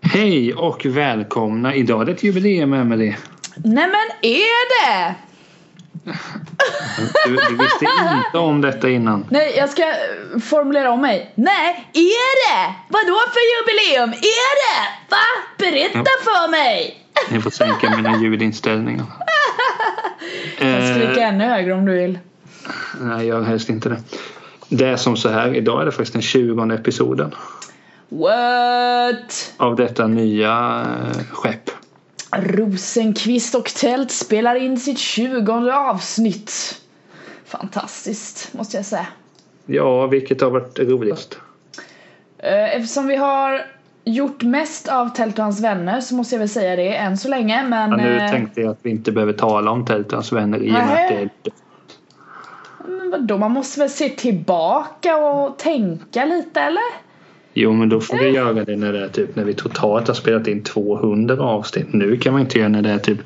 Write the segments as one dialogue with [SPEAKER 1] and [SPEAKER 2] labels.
[SPEAKER 1] Hej och välkomna! Idag är det ett jubileum, Emelie.
[SPEAKER 2] Nej men är det?
[SPEAKER 1] Du, du visste inte om detta innan.
[SPEAKER 2] Nej jag ska eh, formulera om mig. Nej, är det? Vadå för jubileum? Är det? Va? Berätta för mig!
[SPEAKER 1] Ni får sänka mina ljudinställningar. Eh,
[SPEAKER 2] Jag kan skrika ännu högre om du vill.
[SPEAKER 1] nej, jag helst inte det. Det är som så här, idag är det faktiskt den 20 episoden
[SPEAKER 2] What?
[SPEAKER 1] av detta nya eh, skepp.
[SPEAKER 2] Rosenqvist och Tält spelar in sitt 20 avsnitt. Fantastiskt, måste jag säga.
[SPEAKER 1] Ja, vilket har varit roligast?
[SPEAKER 2] Eh, Eftersom vi har gjort mest av Tält och hans vänner så måste jag väl säga det än så länge men...
[SPEAKER 1] Ja, nu
[SPEAKER 2] eh,
[SPEAKER 1] tänkte jag att vi inte behöver tala om Tältans vänner i och med att det är
[SPEAKER 2] Men vadå, man måste väl se tillbaka och tänka lite eller?
[SPEAKER 1] Jo, men då får vi göra det när det är typ när vi totalt har spelat in 200 avsnitt. Nu kan man inte göra när det är typ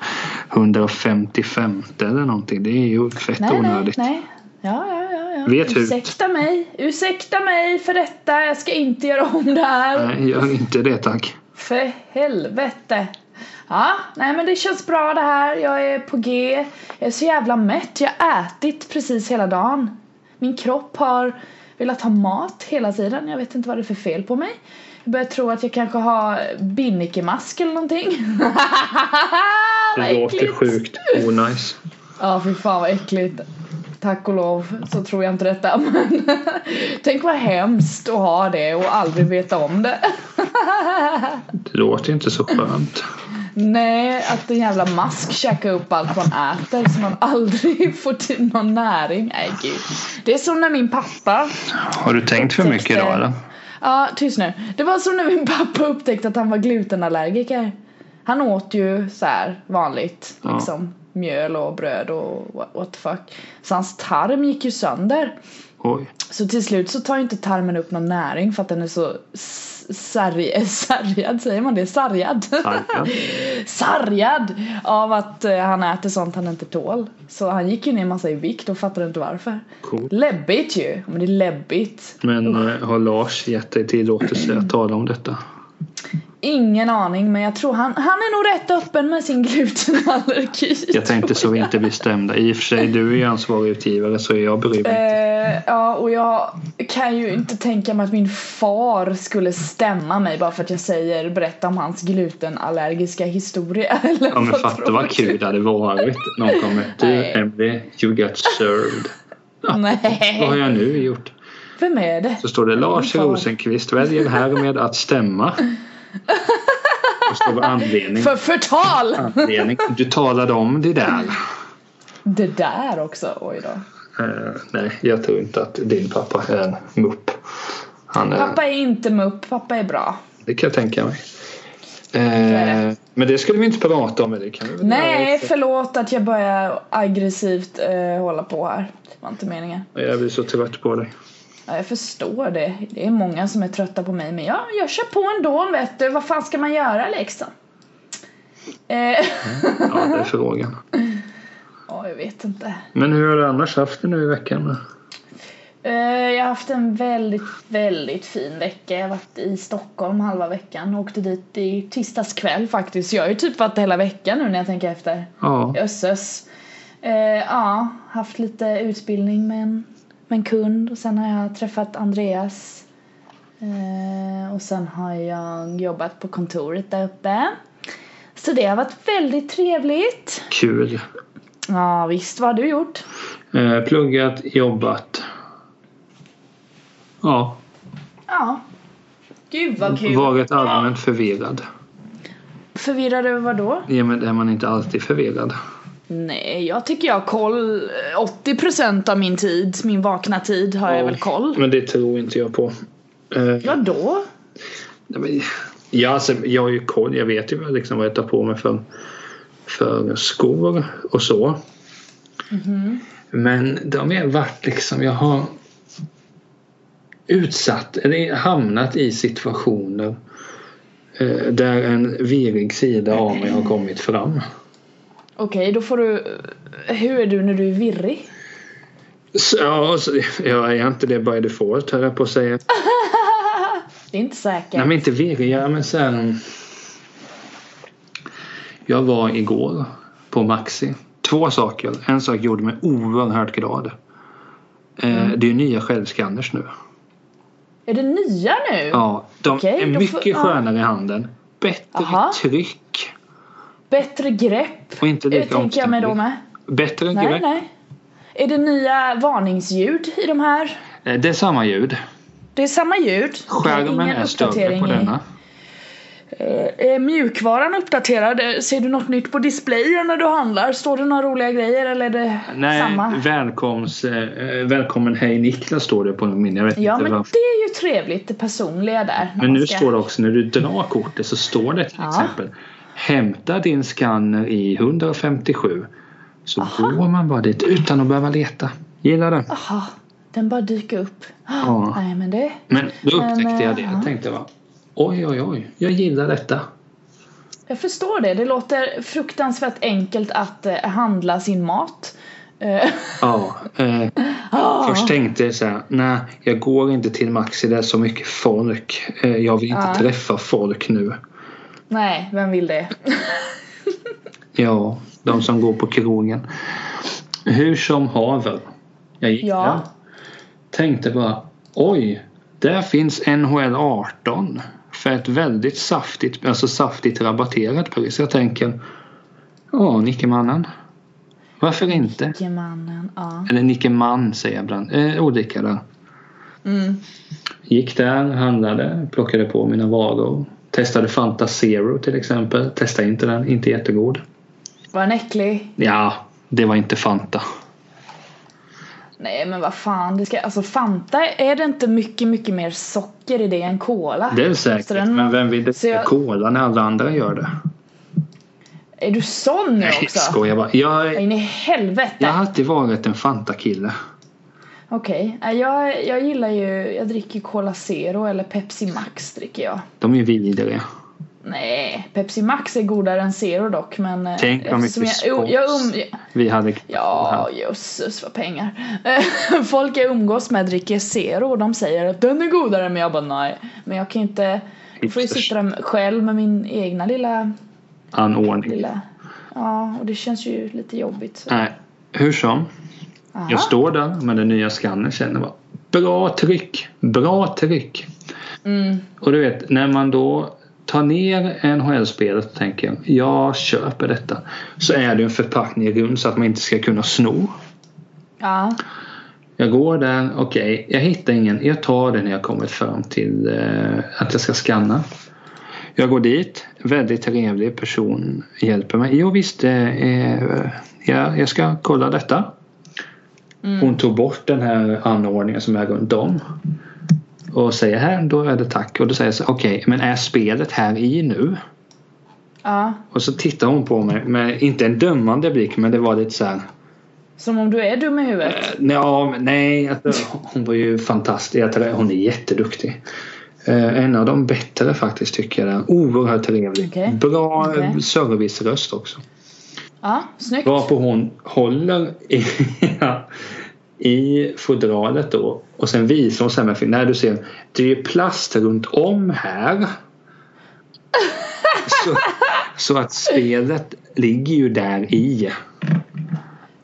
[SPEAKER 1] 155 eller någonting. Det är ju fett
[SPEAKER 2] Nej, nej,
[SPEAKER 1] onödigt.
[SPEAKER 2] nej. Ja, ja, ja. ja.
[SPEAKER 1] Vet hut.
[SPEAKER 2] ursäkta mig, ursäkta mig för detta. Jag ska inte göra om det här.
[SPEAKER 1] nej, gör inte det tack.
[SPEAKER 2] För helvete. Ja, nej men det känns bra det här. Jag är på G. Jag är så jävla mätt. Jag har ätit precis hela dagen. Min kropp har velat ha mat hela tiden. Jag vet inte vad det är för fel på mig. Jag börjar tro att jag kanske har binnikemask eller någonting.
[SPEAKER 1] Det
[SPEAKER 2] Vad
[SPEAKER 1] låter
[SPEAKER 2] äckligt.
[SPEAKER 1] sjukt onajs.
[SPEAKER 2] Ja, fy fan vad äckligt. Tack och lov så tror jag inte detta. Men tänk vad hemskt att ha det och aldrig veta om det.
[SPEAKER 1] Det låter inte så skönt.
[SPEAKER 2] Nej, att en jävla mask käkar upp allt man äter så man aldrig får till någon näring. Nej, gud. Det är som när min pappa
[SPEAKER 1] Har du tänkt för mycket idag eller?
[SPEAKER 2] Ja, tyst nu. Det var som när min pappa upptäckte att han var glutenallergiker. Han åt ju så här vanligt,
[SPEAKER 1] Ja.
[SPEAKER 2] liksom mjöl och bröd och what- what the fuck. Så hans tarm gick ju sönder.
[SPEAKER 1] Oj.
[SPEAKER 2] Så till slut så tar ju inte tarmen upp någon näring för att den är så s- sarg- sargad, säger man det? Sargad?
[SPEAKER 1] Sargad.
[SPEAKER 2] sargad av att eh, han äter sånt han inte tål. Så han gick ju ner massa i vikt och fattade inte varför.
[SPEAKER 1] Coolt.
[SPEAKER 2] Läbbigt ju! Men det är läbbigt.
[SPEAKER 1] Men eh, har Lars gett dig tillåtelse att tala om detta?
[SPEAKER 2] Ingen aning men jag tror han, han är nog rätt öppen med sin glutenallergi.
[SPEAKER 1] Jag tänkte så vi inte blir stämda. I och för sig, du är ju ansvarig utgivare så jag bryr mig inte.
[SPEAKER 2] Eh, ja, och jag kan ju inte tänka mig att min far skulle stämma mig bara för att jag säger berätta om hans glutenallergiska historia. Eller
[SPEAKER 1] Ja men
[SPEAKER 2] vad
[SPEAKER 1] fatta vad
[SPEAKER 2] tråkigt.
[SPEAKER 1] kul det hade varit. Någon kommer du
[SPEAKER 2] Nej.
[SPEAKER 1] Emily, you got served. Vad har
[SPEAKER 2] Nej,
[SPEAKER 1] jag nu gjort?
[SPEAKER 2] vem är det?
[SPEAKER 1] Så står det Lars
[SPEAKER 2] Fan.
[SPEAKER 1] Rosenqvist väljer härmed att stämma. Och står det anledning.
[SPEAKER 2] För förtal!
[SPEAKER 1] anledning. Du talade om det där.
[SPEAKER 2] Det där också, oj då.
[SPEAKER 1] Eh, nej, jag tror inte att din pappa är en mupp. Han är,
[SPEAKER 2] Pappa är inte mupp, pappa är bra.
[SPEAKER 1] Det kan jag tänka mig. Eh, men det skulle vi inte prata om. men Det kan vi väl
[SPEAKER 2] Nej,
[SPEAKER 1] göra.
[SPEAKER 2] förlåt att jag börjar aggressivt eh, hålla på här. Det var inte meningen.
[SPEAKER 1] Jag blir så trött på dig.
[SPEAKER 2] Ja, jag förstår det. Det är många som är trötta på mig men jag, jag kör på ändå vet du. Vad fan ska man göra liksom? Eh,
[SPEAKER 1] Ja, det är frågan.
[SPEAKER 2] ja, jag vet inte.
[SPEAKER 1] Men hur har du annars haft det nu i veckan?
[SPEAKER 2] Eh, jag har haft en väldigt, väldigt fin vecka. Jag har varit i Stockholm halva veckan. Åkte dit i tisdags kväll faktiskt. Jag har ju typ varit hela veckan nu när jag tänker efter.
[SPEAKER 1] Ja.
[SPEAKER 2] Jösses. Eh, ja, haft lite utbildning med en, med en kund och sen har jag träffat Andreas. Eh, och sen har jag jobbat på kontoret där uppe. Så det har varit väldigt trevligt.
[SPEAKER 1] Kul.
[SPEAKER 2] Ja, visst. Vad har du gjort?
[SPEAKER 1] Eh, pluggat, jobbat. Ja,
[SPEAKER 2] Ja. Gud vad kul.
[SPEAKER 1] varit allmänt förvirrad.
[SPEAKER 2] Förvirrad över vad då?
[SPEAKER 1] Ja, men är man inte alltid förvirrad?
[SPEAKER 2] Nej, jag tycker jag har koll. 80% av min tid, min vakna tid, har jag väl koll.
[SPEAKER 1] Men det tror inte jag på. Eh,
[SPEAKER 2] Ja, då?
[SPEAKER 1] nej, men- ja, alltså, jag har ju koll. Jag vet ju vad- liksom, vad jag tar på mig för, för skor och så. Men de har varit liksom, jag har utsatt eller hamnat i situationer eh, där en virrig sida av mig har kommit fram.
[SPEAKER 2] Okej, då får du... Hur är du när du är virrig?
[SPEAKER 1] Så, ja, så, jag är inte det by default höll jag på att säga.
[SPEAKER 2] Det är inte säkert.
[SPEAKER 1] Nej men inte virrig, ja, men så här, mm, Jag var igår på Maxi. Två saker. En sak gjorde mig oerhört glad. Eh,
[SPEAKER 2] Mm.
[SPEAKER 1] Det är ju nya självskanners nu.
[SPEAKER 2] Är det nya nu?
[SPEAKER 1] Ja, de
[SPEAKER 2] Okej,
[SPEAKER 1] är
[SPEAKER 2] då får-
[SPEAKER 1] mycket
[SPEAKER 2] ja.
[SPEAKER 1] skönare i handen. Bättre
[SPEAKER 2] Aha.
[SPEAKER 1] tryck.
[SPEAKER 2] Bättre grepp?
[SPEAKER 1] Och inte
[SPEAKER 2] Det
[SPEAKER 1] lika
[SPEAKER 2] tänker jag mig då
[SPEAKER 1] omständligt.
[SPEAKER 2] med.
[SPEAKER 1] Bättre
[SPEAKER 2] Nej,
[SPEAKER 1] grepp.
[SPEAKER 2] nej. Är det nya varningsljud i de här?
[SPEAKER 1] Eh, Det är samma ljud.
[SPEAKER 2] Det är samma ljud.
[SPEAKER 1] Skärmen
[SPEAKER 2] Ingen
[SPEAKER 1] är större
[SPEAKER 2] uppdatering
[SPEAKER 1] på
[SPEAKER 2] i-
[SPEAKER 1] denna.
[SPEAKER 2] Eh, Är mjukvaran uppdaterad? Eh, Ser du något nytt på displayen när du handlar? Står det några roliga grejer eller är det
[SPEAKER 1] Nej,
[SPEAKER 2] samma?
[SPEAKER 1] välkoms, eh, välkommen hej Niklas står det på min. Jag vet
[SPEAKER 2] Ja
[SPEAKER 1] inte
[SPEAKER 2] men
[SPEAKER 1] varför.
[SPEAKER 2] det är ju trevligt det personliga där. när
[SPEAKER 1] Men
[SPEAKER 2] man
[SPEAKER 1] nu
[SPEAKER 2] ska-
[SPEAKER 1] står det också när du drar kortet så står det till
[SPEAKER 2] Ja.
[SPEAKER 1] exempel Hämta din skanner i 157 Så går man bara dit utan att behöva leta. Gillar det.
[SPEAKER 2] Aha, den bara dyker upp.
[SPEAKER 1] Ja.
[SPEAKER 2] Nej men det...
[SPEAKER 1] Men då
[SPEAKER 2] Men,
[SPEAKER 1] upptäckte jag
[SPEAKER 2] eh,
[SPEAKER 1] det.
[SPEAKER 2] ja.
[SPEAKER 1] Jag tänkte bara Oj oj oj, jag gillar detta.
[SPEAKER 2] Jag förstår det. Det låter fruktansvärt enkelt att eh, handla sin mat. Eh,
[SPEAKER 1] Ja, eh,
[SPEAKER 2] ah,
[SPEAKER 1] Först tänkte jag så här, nej jag går inte till Maxi, det är så mycket folk. Eh, Jag vill inte
[SPEAKER 2] Ja.
[SPEAKER 1] träffa folk nu.
[SPEAKER 2] Nej, vem vill det?
[SPEAKER 1] Ja, de som går på krogen. Hur som haver. Jag gick
[SPEAKER 2] Ja.
[SPEAKER 1] där. Tänkte bara, oj, där finns NHL 18. För ett väldigt saftigt, alltså saftigt rabatterat pris. Jag tänker, ja, Nickemannen. Varför inte?
[SPEAKER 2] Jemannen, ja.
[SPEAKER 1] Eller Nickeman säger jag ibland. Eh, olika där.
[SPEAKER 2] Mm.
[SPEAKER 1] Gick där, handlade, plockade på mina varor. Testade Fanta Zero till exempel. Testade inte den, inte jättegod.
[SPEAKER 2] Var den äcklig?
[SPEAKER 1] Ja, det var inte Fanta.
[SPEAKER 2] Nej men vad fan, det ska, alltså Fanta, är det inte mycket, mycket mer socker i det än cola?
[SPEAKER 1] Det är säkert,
[SPEAKER 2] Så den-
[SPEAKER 1] men vem vill
[SPEAKER 2] så
[SPEAKER 1] dricka
[SPEAKER 2] jag-
[SPEAKER 1] cola när alla andra gör det?
[SPEAKER 2] Är du sån nu
[SPEAKER 1] Nej,
[SPEAKER 2] också?
[SPEAKER 1] skojar bara.
[SPEAKER 2] Ja,
[SPEAKER 1] Jag,
[SPEAKER 2] in i helvete!
[SPEAKER 1] jag har alltid varit en Fanta-kille.
[SPEAKER 2] Okej, Nej, jag, jag gillar ju, jag dricker ju Cola Zero eller Pepsi Max dricker jag.
[SPEAKER 1] De är ju vidriga.
[SPEAKER 2] Nej, Pepsi Max är godare än Zero dock men... eh,
[SPEAKER 1] Tänk vad
[SPEAKER 2] eftersom
[SPEAKER 1] mycket
[SPEAKER 2] jag,
[SPEAKER 1] spons.
[SPEAKER 2] jag, um,
[SPEAKER 1] Vi hade
[SPEAKER 2] Ja, jösses vad pengar. Eh, Folk jag umgås med dricker Zero och de säger att den är godare men jag bara nej. Men jag kan ju inte, jag får ju
[SPEAKER 1] Hipsters.
[SPEAKER 2] sitta där själv med min egna lilla,
[SPEAKER 1] anordning.
[SPEAKER 2] lilla Ja, och det känns ju lite jobbigt. Så.
[SPEAKER 1] Nej, hur som.
[SPEAKER 2] Aha.
[SPEAKER 1] Jag står där med den nya skannern känner bara bra tryck, bra tryck.
[SPEAKER 2] Mm.
[SPEAKER 1] Och du vet, när man då tar ner NHL-spelet och tänker jag, jag köper detta. Så är det ju en förpackning runt så att man inte ska kunna sno.
[SPEAKER 2] Ja,
[SPEAKER 1] Jag går där, okej, jag hittar ingen. Jag tar den när jag kommit fram till eh, att jag ska scanna. Jag går dit, väldigt trevlig person hjälper mig. Jo visst, eh, eh, ja, jag ska kolla detta. Hon tog bort den här anordningen som är runt om. Och säger här, då är det tack. Och då säger jag så okej, men är spelet här i nu?
[SPEAKER 2] ja.
[SPEAKER 1] Och så tittar hon på mig med, inte en dömande blick, men det var lite så här
[SPEAKER 2] Som om du är dum i huvudet.
[SPEAKER 1] Nej, ja, men nej alltså, hon var ju fantastisk. Jag tror- Hon är jätteduktig. Eh, En av de bättre faktiskt tycker jag. Oerhört trevlig.
[SPEAKER 2] Okej.
[SPEAKER 1] Bra
[SPEAKER 2] Okej.
[SPEAKER 1] okay. serviceröst också.
[SPEAKER 2] Ja, snyggt.
[SPEAKER 1] Varpå hon håller i, i fodralet då och sen visar hon så här med fingret. Nej, du ser, det är ju plast runt om här. Så, så att spelet ligger ju där i.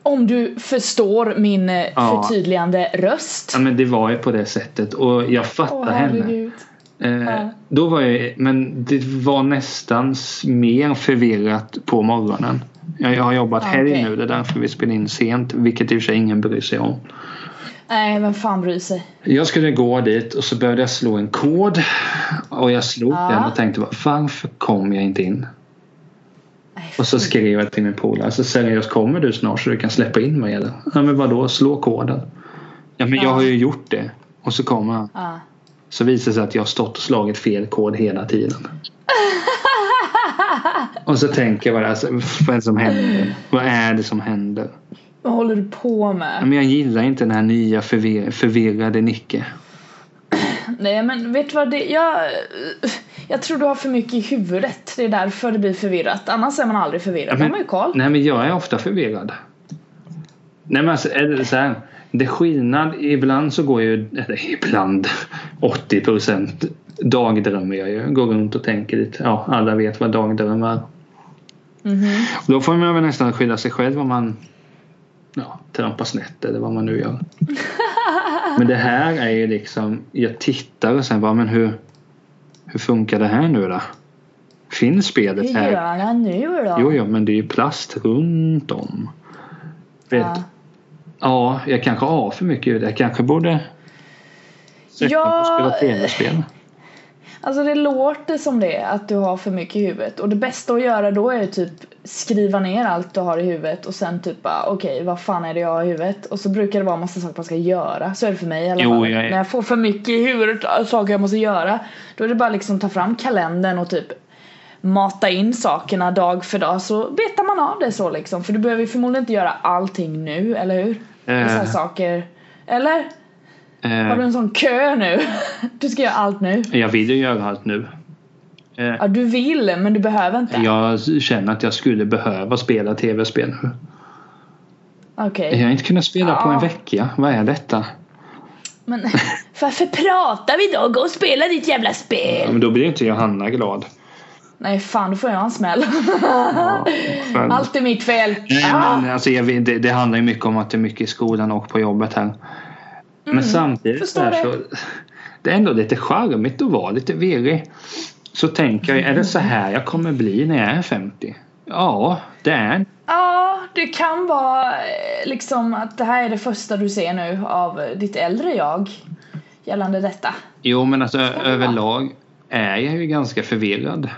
[SPEAKER 2] Om du förstår min eh,
[SPEAKER 1] Ja.
[SPEAKER 2] förtydligande röst.
[SPEAKER 1] Ja, men det var ju på det sättet och jag fattar
[SPEAKER 2] Åh
[SPEAKER 1] henne.
[SPEAKER 2] herregud.
[SPEAKER 1] Eh, då var jag, men det var nästan s- mer förvirrat på morgonen. Jag, jag har jobbat
[SPEAKER 2] Ah,
[SPEAKER 1] helg
[SPEAKER 2] okej.
[SPEAKER 1] nu, det är därför vi spelar in sent, vilket i och för sig ingen bryr sig om.
[SPEAKER 2] Nej, vem fan bryr sig?
[SPEAKER 1] Jag skulle gå dit och så började jag slå en kod och jag slog
[SPEAKER 2] Ja.
[SPEAKER 1] den och tänkte bara, varför kom jag inte in?
[SPEAKER 2] Nej,
[SPEAKER 1] Och så skrev jag till min polare, alltså seriöst kommer du snart så du kan släppa in mig eller? Ja men vadå, slå koden. Ja men jag
[SPEAKER 2] Ja.
[SPEAKER 1] har ju gjort det. Och så kommer han.
[SPEAKER 2] Ja.
[SPEAKER 1] Så visar det sig att jag har stått och slagit fel kod hela tiden. och så tänker jag bara, alltså, vad är det som händer? Vad är det som händer?
[SPEAKER 2] Vad håller du på
[SPEAKER 1] Ja,
[SPEAKER 2] med?
[SPEAKER 1] Men jag gillar inte den här nya förvir- förvirrade Nicke.
[SPEAKER 2] Nej men vet du vad det jag, jag tror du har för mycket i huvudet. Det är därför det blir förvirrat. Annars är man aldrig förvirrad.
[SPEAKER 1] men-
[SPEAKER 2] Man har ju koll.
[SPEAKER 1] Nej men jag är ofta förvirrad. Nej men alltså, eller så här, det är skillnad, ibland så går ju, eller ibland, 80 procent dagdrömmer jag ju. Går runt och tänker lite, ja alla vet vad dagdrömmar
[SPEAKER 2] Mhm.
[SPEAKER 1] Och då får man väl nästan skylla sig själv om man ja, trampar snett eller vad man nu gör. Men det här är ju liksom, jag tittar och sen bara, men hur, hur funkar det här nu då? Finns
[SPEAKER 2] Hur
[SPEAKER 1] spelet här?
[SPEAKER 2] gör han nu då?
[SPEAKER 1] Jo, jo, men det är ju plast runt om. Vet,
[SPEAKER 2] Ja.
[SPEAKER 1] Ja, jag kanske har för mycket ljud. Jag kanske borde sätta på och spela
[SPEAKER 2] Ja,
[SPEAKER 1] tv-spel.
[SPEAKER 2] alltså det låter som det att du har för mycket i huvudet och det bästa att göra då är ju typ skriva ner allt du har i huvudet och sen typ bara okej vad fan är det jag har i huvudet och så brukar det vara massa saker man ska göra så är det för mig i alla
[SPEAKER 1] Jo,
[SPEAKER 2] fall.
[SPEAKER 1] jag är-
[SPEAKER 2] När jag får för mycket i huvudet av saker jag måste göra då är det bara liksom ta fram kalendern och typ mata in sakerna dag för dag så betar man av det så liksom för du behöver ju förmodligen inte göra allting nu eller hur? Vissa
[SPEAKER 1] Eh.
[SPEAKER 2] saker eller? Har du
[SPEAKER 1] Eh,
[SPEAKER 2] en sån kö nu? Du ska göra allt nu.
[SPEAKER 1] jag vill ju göra allt nu. Eh,
[SPEAKER 2] Ja, du vill men du behöver inte.
[SPEAKER 1] jag känner att jag skulle behöva spela tv-spel nu.
[SPEAKER 2] Okej.
[SPEAKER 1] Jag har inte kunnat spela på
[SPEAKER 2] Ja.
[SPEAKER 1] en vecka. Vad är detta?
[SPEAKER 2] Men varför pratar vi då? Gå och spela ditt jävla
[SPEAKER 1] Ja,
[SPEAKER 2] spel!
[SPEAKER 1] men då blir inte Johanna glad.
[SPEAKER 2] Nej fan, då får jag en smäll.
[SPEAKER 1] Ja, själv.
[SPEAKER 2] Allt är mitt fel.
[SPEAKER 1] Nej,
[SPEAKER 2] Ah!
[SPEAKER 1] men, alltså, jag, vet- det, det handlar ju mycket om att det är mycket i skolan och på jobbet här. Men samtidigt så,
[SPEAKER 2] Mm, förstår
[SPEAKER 1] här, så
[SPEAKER 2] det.
[SPEAKER 1] det är ändå lite charmigt att vara lite virrig. Så tänker jag, är det så här jag kommer bli när jag är 50? Ja, det är
[SPEAKER 2] Ah, Ja, det kan vara eh, liksom att det här är det första du ser nu av eh, ditt äldre jag gällande detta.
[SPEAKER 1] Jo, men alltså
[SPEAKER 2] det vara.
[SPEAKER 1] överlag är jag ju ganska förvirrad.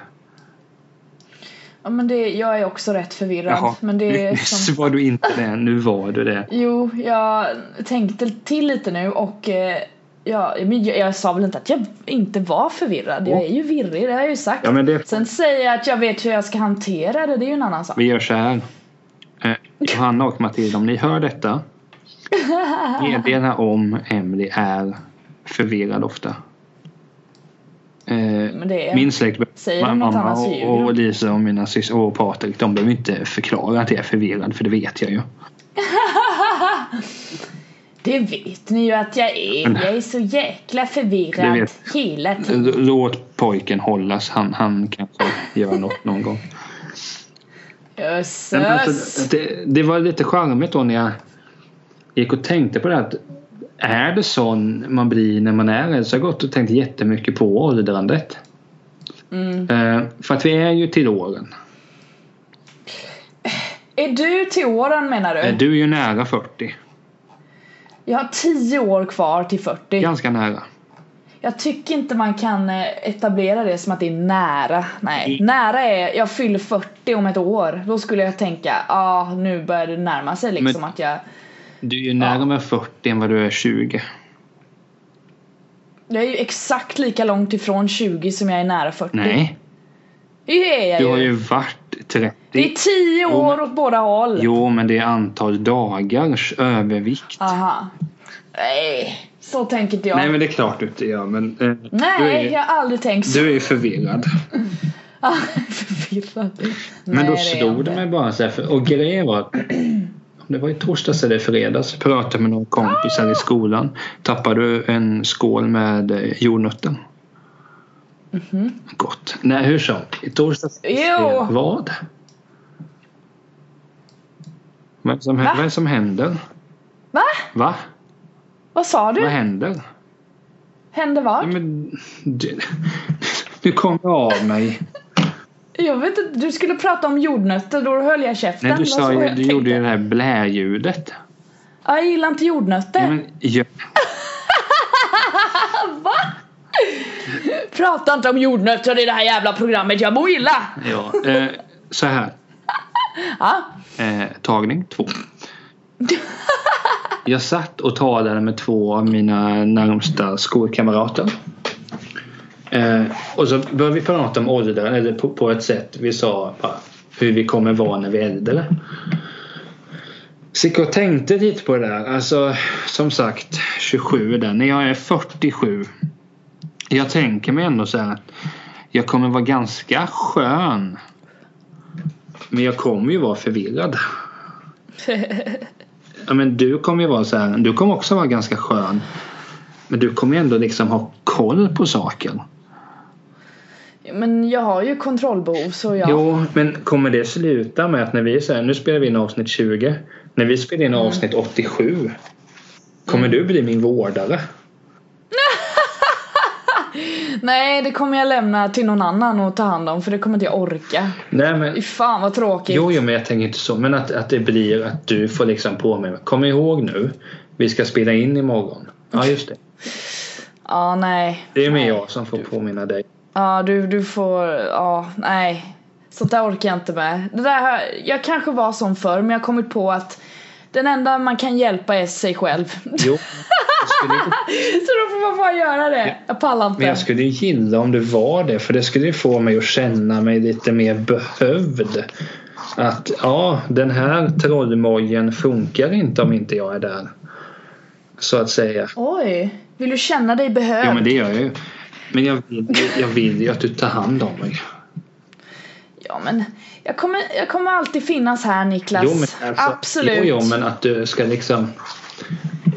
[SPEAKER 2] Ja, men det, jag är också rätt förvirrad. Men det är som...
[SPEAKER 1] Nyss var du inte det, nu var du det.
[SPEAKER 2] Jo, jag tänkte till lite nu och eh, ja, men jag, jag sa väl inte att jag inte var förvirrad. Jag är ju virrig, det har jag ju sagt.
[SPEAKER 1] Ja, men det-
[SPEAKER 2] Sen säger jag att jag vet hur jag ska hantera det, det är ju en annan sak.
[SPEAKER 1] Vi gör så här. Eh, Johanna och Matilda, om ni hör detta. Meddela om Emily är förvirrad ofta. Eh,
[SPEAKER 2] Men det är...
[SPEAKER 1] min släkt,
[SPEAKER 2] Säger
[SPEAKER 1] ma-
[SPEAKER 2] de något
[SPEAKER 1] mamma
[SPEAKER 2] annat så ljuger
[SPEAKER 1] och, och Lisa och mina syster och Patrik, de behöver inte förklara att jag är förvirrad för det vet jag ju.
[SPEAKER 2] Det vet ni ju att jag är. Jag är så jäkla
[SPEAKER 1] Mm. Det
[SPEAKER 2] förvirrad
[SPEAKER 1] vet-
[SPEAKER 2] hela tiden.
[SPEAKER 1] L- Låt pojken hållas, han, han kanske gör något någon gång.
[SPEAKER 2] Jösses.
[SPEAKER 1] Nej, men alltså, det, det var lite charmigt då när jag gick och tänkte på det här, att är det sån man blir när man är äldre? Så jag har gått och tänkt jättemycket på åldrandet.
[SPEAKER 2] Mm.
[SPEAKER 1] Eh, för att vi är ju till åren.
[SPEAKER 2] Är du till åren menar du?
[SPEAKER 1] Eh, Du är ju nära 40.
[SPEAKER 2] Jag har 10 år kvar till 40.
[SPEAKER 1] Ganska nära.
[SPEAKER 2] Jag tycker inte man kan eh, etablera det som att det är nära. Nej,
[SPEAKER 1] Mm.
[SPEAKER 2] nära är jag fyller 40 om ett år. Då skulle jag tänka, ja ah, nu börjar det närma sig liksom
[SPEAKER 1] Men-
[SPEAKER 2] att jag
[SPEAKER 1] Du är ju närmare 40 än vad du är 20.
[SPEAKER 2] jag är ju exakt lika långt ifrån 20 som jag är nära 40.
[SPEAKER 1] Nej,
[SPEAKER 2] Det är jag
[SPEAKER 1] du har
[SPEAKER 2] ju.
[SPEAKER 1] ju varit 30.
[SPEAKER 2] Det är 10
[SPEAKER 1] Jo, men-
[SPEAKER 2] år åt båda håll.
[SPEAKER 1] Jo, men det är antal dagars övervikt.
[SPEAKER 2] Aha. Nej, så tänker inte jag.
[SPEAKER 1] Nej,
[SPEAKER 2] Nej,
[SPEAKER 1] men det är klart du inte gör. Men eh,
[SPEAKER 2] Mm.
[SPEAKER 1] du, är ju,
[SPEAKER 2] jag har aldrig tänkt så.
[SPEAKER 1] du är ju förvirrad.
[SPEAKER 2] Förvirrad.
[SPEAKER 1] Men
[SPEAKER 2] Nej,
[SPEAKER 1] då
[SPEAKER 2] är
[SPEAKER 1] slog
[SPEAKER 2] jag
[SPEAKER 1] det
[SPEAKER 2] inte.
[SPEAKER 1] mig bara så här, för, och grejen var att om det var i torsdags eller fredags pratade jag med några kompisar i skolan. Tappade du en skål med eh, jordnötten? Gott. Nej, hur som. I torsdags
[SPEAKER 2] Mhm. Jo.
[SPEAKER 1] vad? Vad som,
[SPEAKER 2] Va?
[SPEAKER 1] vad är det som händer?
[SPEAKER 2] Va?
[SPEAKER 1] Va?
[SPEAKER 2] Vad sa
[SPEAKER 1] Vad Mm.
[SPEAKER 2] du?
[SPEAKER 1] händer?
[SPEAKER 2] Hände
[SPEAKER 1] Ja,
[SPEAKER 2] vad?
[SPEAKER 1] men, du, du kom av mig.
[SPEAKER 2] Jag vet inte, du skulle prata om jordnötter, då höll jag käften.
[SPEAKER 1] Nej, du,
[SPEAKER 2] Vad så
[SPEAKER 1] sa ju,
[SPEAKER 2] jag
[SPEAKER 1] du
[SPEAKER 2] tänkte.
[SPEAKER 1] gjorde ju det här blä-ljudet.
[SPEAKER 2] Ja, jag gillar inte jordnötter.
[SPEAKER 1] Ja, men, ja,
[SPEAKER 2] Prata inte om jordnötter i det här jävla programmet, jag mår illa!
[SPEAKER 1] ja, eh, så här.
[SPEAKER 2] Ja.
[SPEAKER 1] Eh, tagning två. Jag satt och talade med två av mina närmsta skolkamrater. Eh, och så började vi prata om ålder, eller på, på ett sätt vi sa bara, hur vi kommer vara när vi är äldre. Så jag gick och tänkte lite på det där. Alltså, som sagt, 27 där. När jag är 47. Jag tänker mig ändå så här att jag kommer vara ganska skön. Men jag kommer ju vara förvirrad. Ja, men du kommer ju vara så här, du kommer också vara ganska skön. Men du kommer ju ändå liksom ha koll på saken.
[SPEAKER 2] Men jag har ju kontrollbehov så jag...
[SPEAKER 1] Jo, men kommer det sluta med att när vi säger nu spelar vi in avsnitt 20. När vi spelar in avsnitt 87. Kommer du bli min vårdare?
[SPEAKER 2] Nej, det kommer jag lämna till någon annan att ta hand om för det kommer inte jag orka.
[SPEAKER 1] Nej men
[SPEAKER 2] Fy fan vad tråkigt.
[SPEAKER 1] Jo, jo, men jag tänker inte så. Men att, att det blir att du får liksom påminna mig. Kom ihåg nu. Vi ska spela in imorgon. Ja, just det.
[SPEAKER 2] Ja, nej.
[SPEAKER 1] Det är mer
[SPEAKER 2] Nej.
[SPEAKER 1] jag som får påminna dig.
[SPEAKER 2] Ja, du, du får... Ja, nej. Sånt där orkar jag inte med. Det där, har- jag kanske var som förr men jag har kommit på att den enda man kan hjälpa är sig själv.
[SPEAKER 1] Jo. Jag skulle,
[SPEAKER 2] så då får man bara göra det. Jag pallar inte.
[SPEAKER 1] men jag skulle gilla om du var det. För det skulle ju få mig att känna mig lite mer behövd. Att ja, den här trollmojen funkar inte om inte jag är där. Så att säga.
[SPEAKER 2] Oj, vill du känna dig behövd?
[SPEAKER 1] Jo, men det gör jag ju. Men jag vill, jag vill ju att du tar hand om mig.
[SPEAKER 2] Ja, men jag kommer, jag kommer alltid finnas här Niklas.
[SPEAKER 1] Jo, men alltså,
[SPEAKER 2] Absolut.
[SPEAKER 1] Jo, jo, men att du ska liksom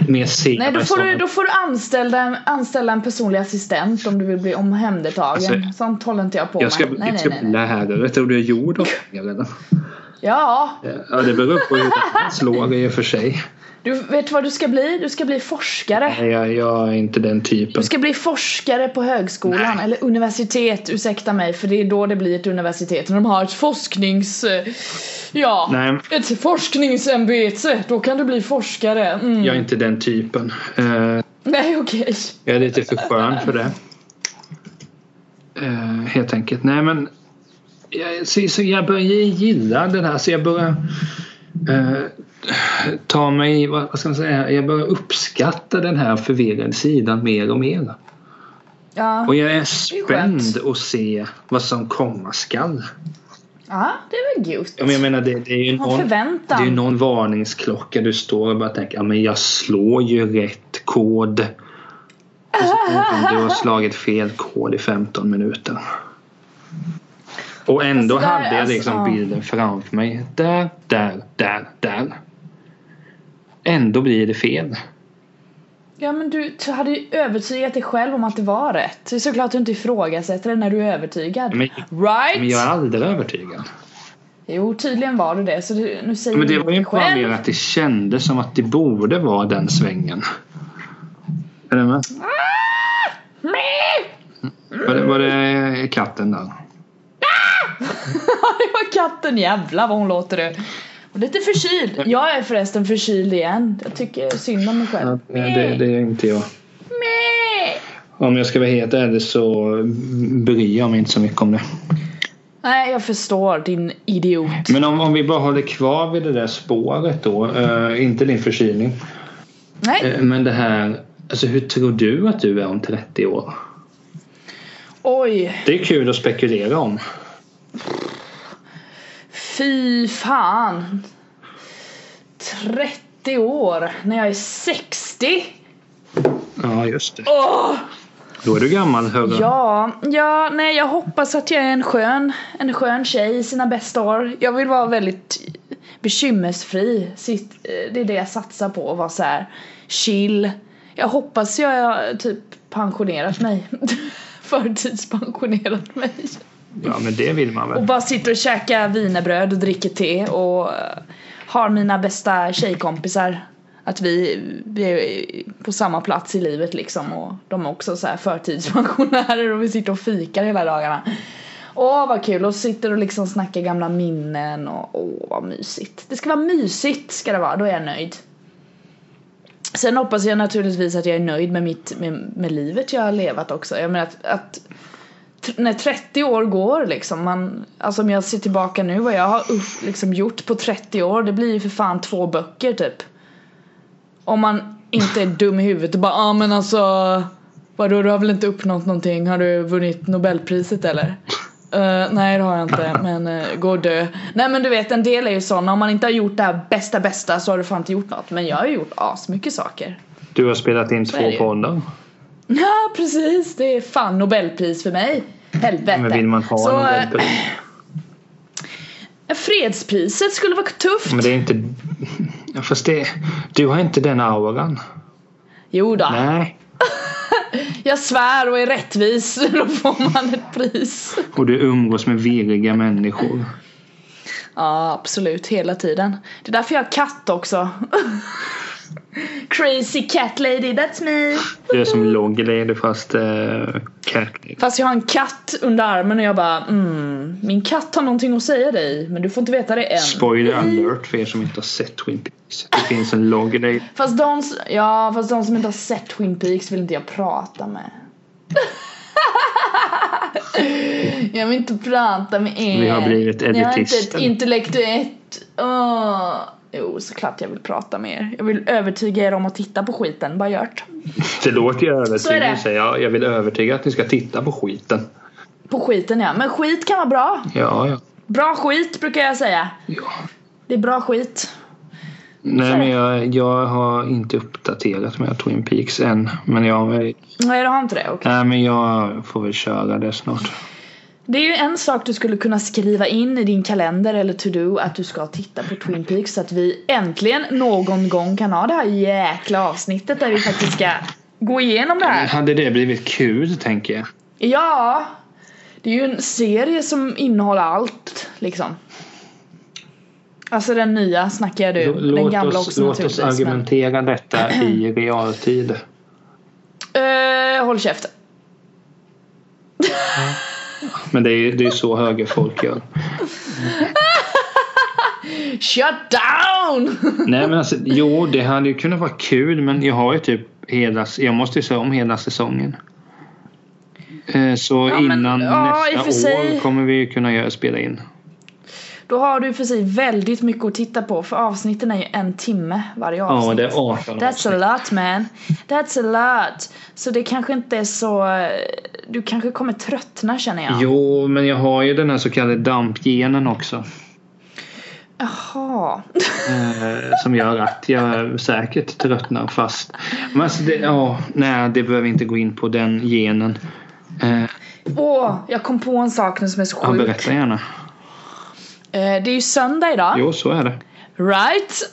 [SPEAKER 1] mer se
[SPEAKER 2] Nej, då
[SPEAKER 1] mig
[SPEAKER 2] får,
[SPEAKER 1] som
[SPEAKER 2] du,
[SPEAKER 1] en-
[SPEAKER 2] då får du anställa en, anställa en personlig assistent om du vill bli omhändertagen.
[SPEAKER 1] Alltså,
[SPEAKER 2] Sånt håller inte jag på
[SPEAKER 1] Jag ska,
[SPEAKER 2] med. Nej,
[SPEAKER 1] jag
[SPEAKER 2] nej,
[SPEAKER 1] ska
[SPEAKER 2] nej,
[SPEAKER 1] bli typ
[SPEAKER 2] nej.
[SPEAKER 1] lärare. Tror du jag är gjord av pengar eller?
[SPEAKER 2] Ja,
[SPEAKER 1] Ja, det beror på hur det slår i och för sig.
[SPEAKER 2] du vet vad du ska bli? Du ska bli forskare.
[SPEAKER 1] Nej, Jag, jag är inte den
[SPEAKER 2] Du
[SPEAKER 1] typen.
[SPEAKER 2] ska bli forskare på högskolan eller universitet, ursäkta mig för det är då det blir ett universitet. När de har ett forsknings... eh, Ja,
[SPEAKER 1] Nej,
[SPEAKER 2] ett forskningsämbete, då kan du bli forskare. Mm.
[SPEAKER 1] jag är inte den typen. Eh,
[SPEAKER 2] Nej, okej.
[SPEAKER 1] Jag är lite för skön för det. Eh, helt enkelt. Nej men. Jag, så, så jag börjar gilla den här så jag börjar eh, ta mig, vad vad ska man säga, jag börjar uppskatta den här förvirrade sidan mer och mer.
[SPEAKER 2] Ja.
[SPEAKER 1] Och jag är
[SPEAKER 2] är
[SPEAKER 1] spänd
[SPEAKER 2] skönt.
[SPEAKER 1] att se vad som komma skall.
[SPEAKER 2] ja, det är väl gott.
[SPEAKER 1] Ja, men Jag menar det, det är ju
[SPEAKER 2] Man
[SPEAKER 1] någon, det
[SPEAKER 2] förväntan.
[SPEAKER 1] är ju någon varningsklocka du står och bara tänker ja, men jag slår ju rätt kod. Och så tänker du, Du har slagit fel kod i 15 minuter. Och ändå
[SPEAKER 2] Alltså, där-
[SPEAKER 1] hade jag
[SPEAKER 2] alltså,
[SPEAKER 1] liksom
[SPEAKER 2] ja.
[SPEAKER 1] bilden framför mig. Där, där, där, där. Ändå blir det fel.
[SPEAKER 2] Ja men du, du hade ju övertygat dig själv om att det var rätt. Det är såklart du inte ifrågasätter det när du är övertygad.
[SPEAKER 1] Men-
[SPEAKER 2] right?
[SPEAKER 1] Men jag är aldrig övertygad.
[SPEAKER 2] Jo, tydligen var du det. Så du, nu säger
[SPEAKER 1] Men det
[SPEAKER 2] du
[SPEAKER 1] var ju bara mer
[SPEAKER 2] Mm, själv.
[SPEAKER 1] att det kändes som att det borde vara den svängen. Är du med?
[SPEAKER 2] Ah! Nej!
[SPEAKER 1] Var det, var det katten där?
[SPEAKER 2] Ja, det var katten. Jävlar vad hon låter det. Och lite förkyld. Jag är förresten förkyld igen. Jag tycker synd om mig själv.
[SPEAKER 1] Nej, det, det är inte jag.
[SPEAKER 2] Nej!
[SPEAKER 1] Om jag ska vara helt ärlig så bryr jag mig inte så mycket om det.
[SPEAKER 2] Nej, jag förstår din idiot.
[SPEAKER 1] Men om, om vi bara håller kvar vid det där spåret då. eh, inte din förkylning.
[SPEAKER 2] Nej.
[SPEAKER 1] Eh, men det här. Alltså hur tror du att du är om 30 år?
[SPEAKER 2] Oj.
[SPEAKER 1] Det är kul att spekulera om.
[SPEAKER 2] Fy fan. 30 år när jag är 60.
[SPEAKER 1] Ja, just det.
[SPEAKER 2] Åh!
[SPEAKER 1] Då är du gammal, hörru.
[SPEAKER 2] Ja, ja, nej jag hoppas att jag är en skön, en skön tjej i sina bästa år. Jag vill vara väldigt bekymmersfri. Sitt, eh, det är det jag satsar på, att vara så här chill. Jag hoppas jag har typ pensionerat mig. Förtidspensionerat mig.
[SPEAKER 1] ja, men det vill man
[SPEAKER 2] Och
[SPEAKER 1] väl?
[SPEAKER 2] bara sitter och käkar wienerbröd och dricker te och eh, har mina bästa tjejkompisar. Att vi, vi är på samma plats i livet liksom och de är också så här förtidspensionärer och vi sitter och fikar hela dagarna. Åh vad kul och sitter och liksom snackar gamla minnen och åh vad mysigt. Det ska vara mysigt ska det vara, då är jag nöjd. Sen hoppas jag naturligtvis att jag är nöjd med, mitt, med, med livet jag har levat också. Jag menar att, att tr- när 30 år går liksom, man, alltså om jag ser tillbaka nu vad jag har upp, liksom gjort på 30 år, det blir ju för fan två böcker typ. Om man inte är dum i huvudet och bara ah, men alltså vadå du har väl inte uppnått någonting, har du vunnit nobelpriset eller? "Eh, nej det har jag inte men uh, gå och dö. Nej men du vet en del är ju sådana, om man inte har gjort det här bästa bästa så har du fan inte gjort något. Men jag har ju gjort asmycket saker.
[SPEAKER 1] Du har spelat in
[SPEAKER 2] är det
[SPEAKER 1] två
[SPEAKER 2] ju.
[SPEAKER 1] poddar.
[SPEAKER 2] Ja precis, det är fan nobelpris för mig. Helvete.
[SPEAKER 1] Men vill man ha
[SPEAKER 2] Så,
[SPEAKER 1] en
[SPEAKER 2] eh,
[SPEAKER 1] Nobelpris?
[SPEAKER 2] Fredspriset skulle vara tufft.
[SPEAKER 1] Men det är inte... Ja, Fast det... Du har inte den auran.
[SPEAKER 2] Jo då.
[SPEAKER 1] Nej.
[SPEAKER 2] jag svär och är rättvis. Då får man ett pris.
[SPEAKER 1] Och du umgås med virriga människor.
[SPEAKER 2] Ja, absolut. Hela tiden. Det är därför jag har katt också. Crazy cat lady, that's me.
[SPEAKER 1] Du är som Logglady fast eh, cat.
[SPEAKER 2] Fast jag har en katt under armen och jag bara mm, min katt har någonting att säga dig men du får inte veta det än.
[SPEAKER 1] Spoiler alert för er som inte har sett Twin Peaks. Det finns en Logglady.
[SPEAKER 2] Fast de, s- ja, fast de som inte har sett Twin Peaks vill inte jag prata med. jag vill inte prata med er.
[SPEAKER 1] Vi har blivit
[SPEAKER 2] Ni har inte ett
[SPEAKER 1] elitister.
[SPEAKER 2] intellektuellt... Åh. Jo, såklart jag vill prata med er. Jag vill övertyga er om att titta på skiten. Bara gör det.
[SPEAKER 1] Det låter ju övertygande.
[SPEAKER 2] det.
[SPEAKER 1] säger Jag, jag vill övertyga att ni ska titta på skiten.
[SPEAKER 2] På skiten ja. Men skit kan vara bra.
[SPEAKER 1] Ja, ja.
[SPEAKER 2] Bra skit brukar jag säga.
[SPEAKER 1] ja.
[SPEAKER 2] Det är bra skit.
[SPEAKER 1] Nej, men jag, jag har inte uppdaterat med Twin Peaks än. Men jag,
[SPEAKER 2] Nej, du har inte det? Okej.
[SPEAKER 1] nej, men jag får väl köra det snart.
[SPEAKER 2] Det är ju en sak du skulle kunna skriva in i din kalender eller to-do att du ska titta på Twin Peaks så att vi äntligen någon gång kan ha det här jäkla avsnittet där vi faktiskt ska gå igenom det här.
[SPEAKER 1] Hade det blivit kul, tänker jag.
[SPEAKER 2] Ja! Det är ju en serie som innehåller allt liksom. Alltså den nya snackar jag nu. Den
[SPEAKER 1] Låt
[SPEAKER 2] gamla
[SPEAKER 1] oss,
[SPEAKER 2] också
[SPEAKER 1] låt oss
[SPEAKER 2] naturligtvis. men-
[SPEAKER 1] argumentera detta i realtid.
[SPEAKER 2] Eh, håll käften.
[SPEAKER 1] Men det är ju det är ju så högerfolk gör.
[SPEAKER 2] Shut down!
[SPEAKER 1] Nej men alltså, jo det hade ju kunnat vara kul men jag har ju typ hela, jag måste ju se om hela säsongen. Eh, Så
[SPEAKER 2] Ja, men-
[SPEAKER 1] innan
[SPEAKER 2] ja, i och för
[SPEAKER 1] nästa
[SPEAKER 2] sig.
[SPEAKER 1] år kommer vi ju kunna göra, spela in.
[SPEAKER 2] Då har du för sig väldigt mycket att titta på för avsnitten är ju en timme varje avsnitt.
[SPEAKER 1] Ja det är 18
[SPEAKER 2] That's a lot man. That's a lot. Så det kanske inte är så... Du kanske kommer tröttna känner jag.
[SPEAKER 1] Jo men jag har ju den här så kallade dampgenen också.
[SPEAKER 2] Jaha.
[SPEAKER 1] Eh, som gör att jag säkert tröttnar fast. Men alltså det, ja, nej det behöver vi inte gå in på den genen. Eh,
[SPEAKER 2] Åh, jag kom på en sak nu som är så
[SPEAKER 1] ja,
[SPEAKER 2] sjuk.
[SPEAKER 1] berätta gärna.
[SPEAKER 2] Eh, det är ju söndag idag.
[SPEAKER 1] Jo så är det.
[SPEAKER 2] Right?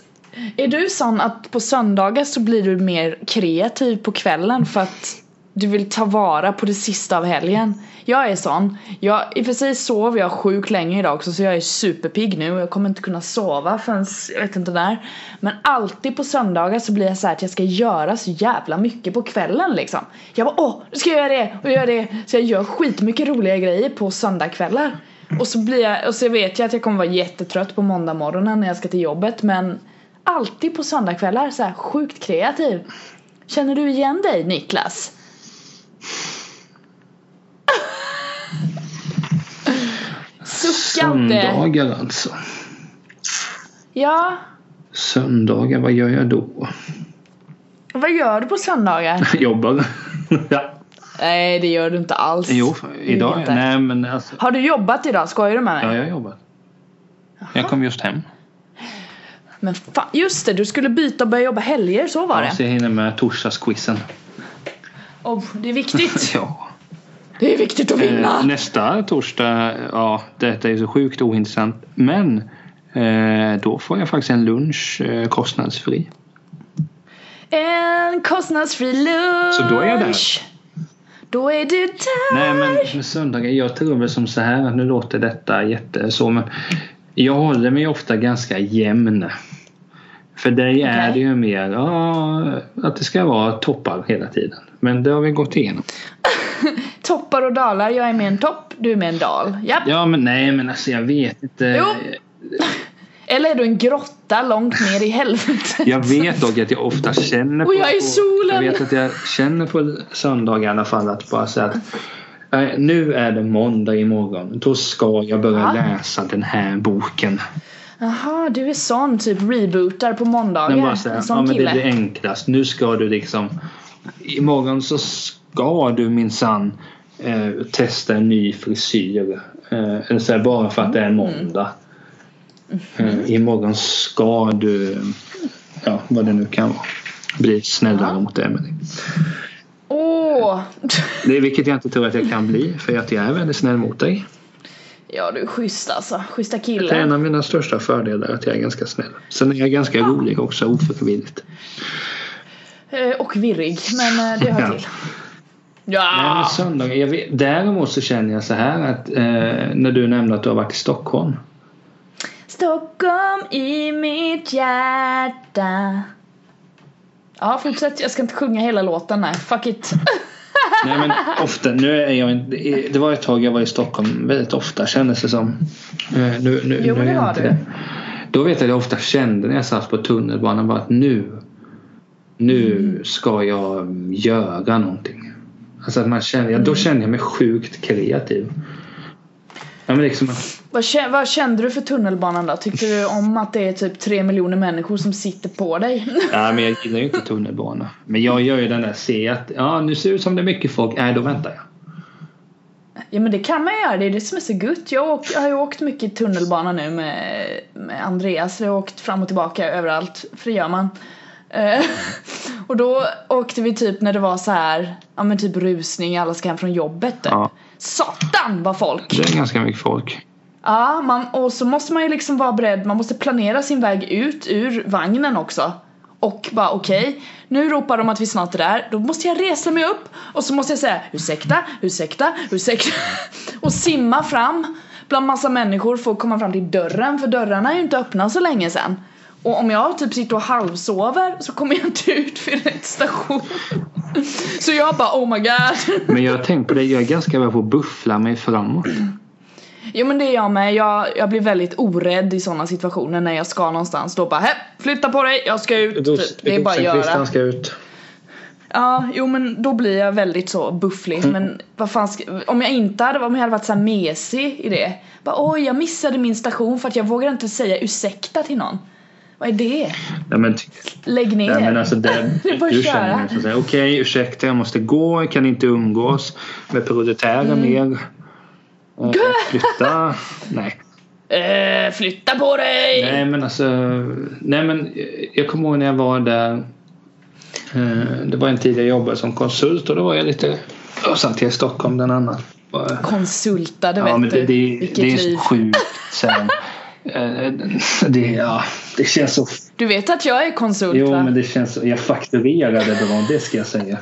[SPEAKER 2] Är du sån att på söndagar så blir du mer kreativ på kvällen för att du vill ta vara på det sista av helgen? Jag är sån. Jag, I och för sig sover jag sjukt länge idag också så jag är superpigg nu och jag kommer inte kunna sova förrän jag vet inte när. Men alltid på söndagar så blir jag så här att jag ska göra så jävla mycket på kvällen liksom. Jag bara åh, nu ska jag göra det och göra det. Så jag gör skitmycket roliga grejer på söndagkvällar. Och så, blir jag, och så vet jag att jag kommer vara jättetrött på måndag morgonen när jag ska till jobbet men alltid på söndagkvällar så här sjukt kreativ. Känner du igen dig Niklas? Sucka inte!
[SPEAKER 1] Söndagar alltså.
[SPEAKER 2] Ja,
[SPEAKER 1] Söndagar, vad gör jag då?
[SPEAKER 2] vad gör du på söndagar?
[SPEAKER 1] Jobbar. ja.
[SPEAKER 2] Nej det gör du inte alls.
[SPEAKER 1] Jo, för- idag.
[SPEAKER 2] inte.
[SPEAKER 1] Nej men alltså.
[SPEAKER 2] Har du jobbat idag? Skojar du med mig?
[SPEAKER 1] Ja, jag jobbar. Jag kom just hem.
[SPEAKER 2] Men fan, just det, du skulle byta och börja jobba helger, så var
[SPEAKER 1] Ja, så
[SPEAKER 2] det.
[SPEAKER 1] jag hinner med torsdagsquizen.
[SPEAKER 2] Oh, det är viktigt.
[SPEAKER 1] Ja.
[SPEAKER 2] Det är viktigt att vinna.
[SPEAKER 1] Eh, nästa torsdag, ja detta är ju så sjukt ointressant. Men eh, då får jag faktiskt en lunch eh, kostnadsfri.
[SPEAKER 2] En kostnadsfri lunch.
[SPEAKER 1] Så då är jag där.
[SPEAKER 2] Då är du där.
[SPEAKER 1] Nej men med söndagar, jag tror väl som så här, nu låter detta jätte så men jag håller mig ofta ganska jämn. För dig är
[SPEAKER 2] Okej.
[SPEAKER 1] det ju mer ja, att det ska vara toppar hela tiden. Men det har vi gått igenom.
[SPEAKER 2] Toppar och dalar. Jag är med en topp, du är med en dal. Japp.
[SPEAKER 1] Ja men nej men alltså jag vet inte.
[SPEAKER 2] Jo. Eller är du en grotta långt ner i helvetet?
[SPEAKER 1] Jag vet dock att jag ofta känner på...
[SPEAKER 2] Och jag är i solen.
[SPEAKER 1] Jag vet att jag känner på söndagar i alla fall att bara säga att eh, nu är det måndag imorgon. Då ska jag börja
[SPEAKER 2] Ja.
[SPEAKER 1] läsa den här boken.
[SPEAKER 2] Jaha, du är sån typ rebootar på måndagar.
[SPEAKER 1] Men bara säga,
[SPEAKER 2] en
[SPEAKER 1] ja
[SPEAKER 2] sån
[SPEAKER 1] men det
[SPEAKER 2] kille.
[SPEAKER 1] är det enklast. Nu ska du liksom Imorgon så ska du minsann eh, testa en ny frisyr. Eh, eller så här, bara för att det är
[SPEAKER 2] Mm.
[SPEAKER 1] måndag. Eh, imorgon ska du Ja vad det nu kan vara. Bli snällare mot Emelie.
[SPEAKER 2] Åh!
[SPEAKER 1] Det är vilket jag inte tror att jag kan bli för att jag är väldigt snäll mot dig.
[SPEAKER 2] Ja, du är schysst alltså. Schyssta
[SPEAKER 1] Det är en
[SPEAKER 2] killen.
[SPEAKER 1] av mina största fördelar att jag är ganska snäll. Sen är jag ganska rolig också ofrivilligt.
[SPEAKER 2] Eh, Och virrig, men eh, det hör
[SPEAKER 1] Ja.
[SPEAKER 2] till.
[SPEAKER 1] Nej, men
[SPEAKER 2] Ja!
[SPEAKER 1] söndag, jag vet, däremot så känner jag så här att eh, när du nämnde att du har varit i Stockholm.
[SPEAKER 2] Stockholm i mitt hjärta. Ja, fortsätt. Jag ska inte sjunga hela låten. Nej, fuck it.
[SPEAKER 1] Nej men ofta, nu är jag inte, det var ett tag jag var i Stockholm väldigt ofta kändes det som. Eh, Nu, nu,
[SPEAKER 2] Jo,
[SPEAKER 1] nu är
[SPEAKER 2] det
[SPEAKER 1] jag
[SPEAKER 2] var
[SPEAKER 1] inte
[SPEAKER 2] du.
[SPEAKER 1] det. Då vet jag att jag ofta kände när jag satt på tunnelbanan bara att nu, nu
[SPEAKER 2] Mm.
[SPEAKER 1] ska jag göra någonting. Alltså att man kände, ja,
[SPEAKER 2] Mm.
[SPEAKER 1] då kände jag mig sjukt kreativ. Ja, men liksom,
[SPEAKER 2] Vad, kä- vad kände du för tunnelbanan då? Tyckte du om att det är typ tre miljoner människor som sitter på dig?
[SPEAKER 1] ja, men jag gillar ju inte tunnelbana. Men jag gör ju den där, ser att ja, nu ser det ut som det är mycket folk, nej då väntar jag.
[SPEAKER 2] Ja men det kan man göra, det är det som är så gött. Jag, åk, jag har ju åkt mycket i tunnelbana nu med, med Andreas. Vi har åkt fram och tillbaka överallt, för det gör man. Eh, och då åkte vi typ när det var så här, ja men typ rusning, alla ska hem från jobbet typ.
[SPEAKER 1] Ja.
[SPEAKER 2] Satan vad folk!
[SPEAKER 1] Det är ganska mycket folk.
[SPEAKER 2] Ja, man, och så måste man ju liksom vara beredd, man måste planera sin väg ut ur vagnen också. Och bara okej, nu ropar de att vi snart är där, då måste jag resa mig upp och så måste jag säga ursäkta, ursäkta, ursäkta och simma fram bland massa människor för att komma fram till dörren för dörrarna är ju inte öppna så länge sen. Och om jag typ sitter och halvsover så kommer jag inte ut för rätt station. Så jag bara oh my god.
[SPEAKER 1] Men jag har tänkt på det, jag är ganska bra på att buffla mig framåt.
[SPEAKER 2] Jo men det är jag med, jag, jag blir väldigt orädd i sådana situationer när jag ska någonstans Då bara "Hä, flytta på dig, jag ska ut
[SPEAKER 1] Ros-
[SPEAKER 2] typ. Det är bara att göra
[SPEAKER 1] Rosenkvistan ska ut.
[SPEAKER 2] Ja, jo men då blir jag väldigt så bufflig
[SPEAKER 1] Mm.
[SPEAKER 2] Men vad fan ska, om jag inte hade, om jag hade varit såhär mesig i det Bara oj jag missade min station för att jag vågar inte säga ursäkta till någon Vad är det?
[SPEAKER 1] Nej men, ty-
[SPEAKER 2] Lägg ner!
[SPEAKER 1] nej, men alltså det,
[SPEAKER 2] Det är bara att
[SPEAKER 1] du
[SPEAKER 2] köra.
[SPEAKER 1] känner ju så att säga, okej ursäkta jag måste gå, jag kan inte umgås med proletärer
[SPEAKER 2] Mm.
[SPEAKER 1] mer. Eh, Flytta. nej.
[SPEAKER 2] Eh, flytta på dig!
[SPEAKER 1] nej men alltså, nej men eh, jag kommer ihåg när jag var där. eh, Det var en tid jag jobbade som konsult och då var jag lite, och sen till Stockholm den annan. var-
[SPEAKER 2] Konsultade vet
[SPEAKER 1] ja, men det,
[SPEAKER 2] du,
[SPEAKER 1] det,
[SPEAKER 2] vilket
[SPEAKER 1] det är
[SPEAKER 2] liv
[SPEAKER 1] så sjukt sen. Eh, det, ja, det känns så
[SPEAKER 2] Du vet att jag är konsult
[SPEAKER 1] Jo,
[SPEAKER 2] va?
[SPEAKER 1] men det känns... Jag fakturerade bra, det ska jag säga.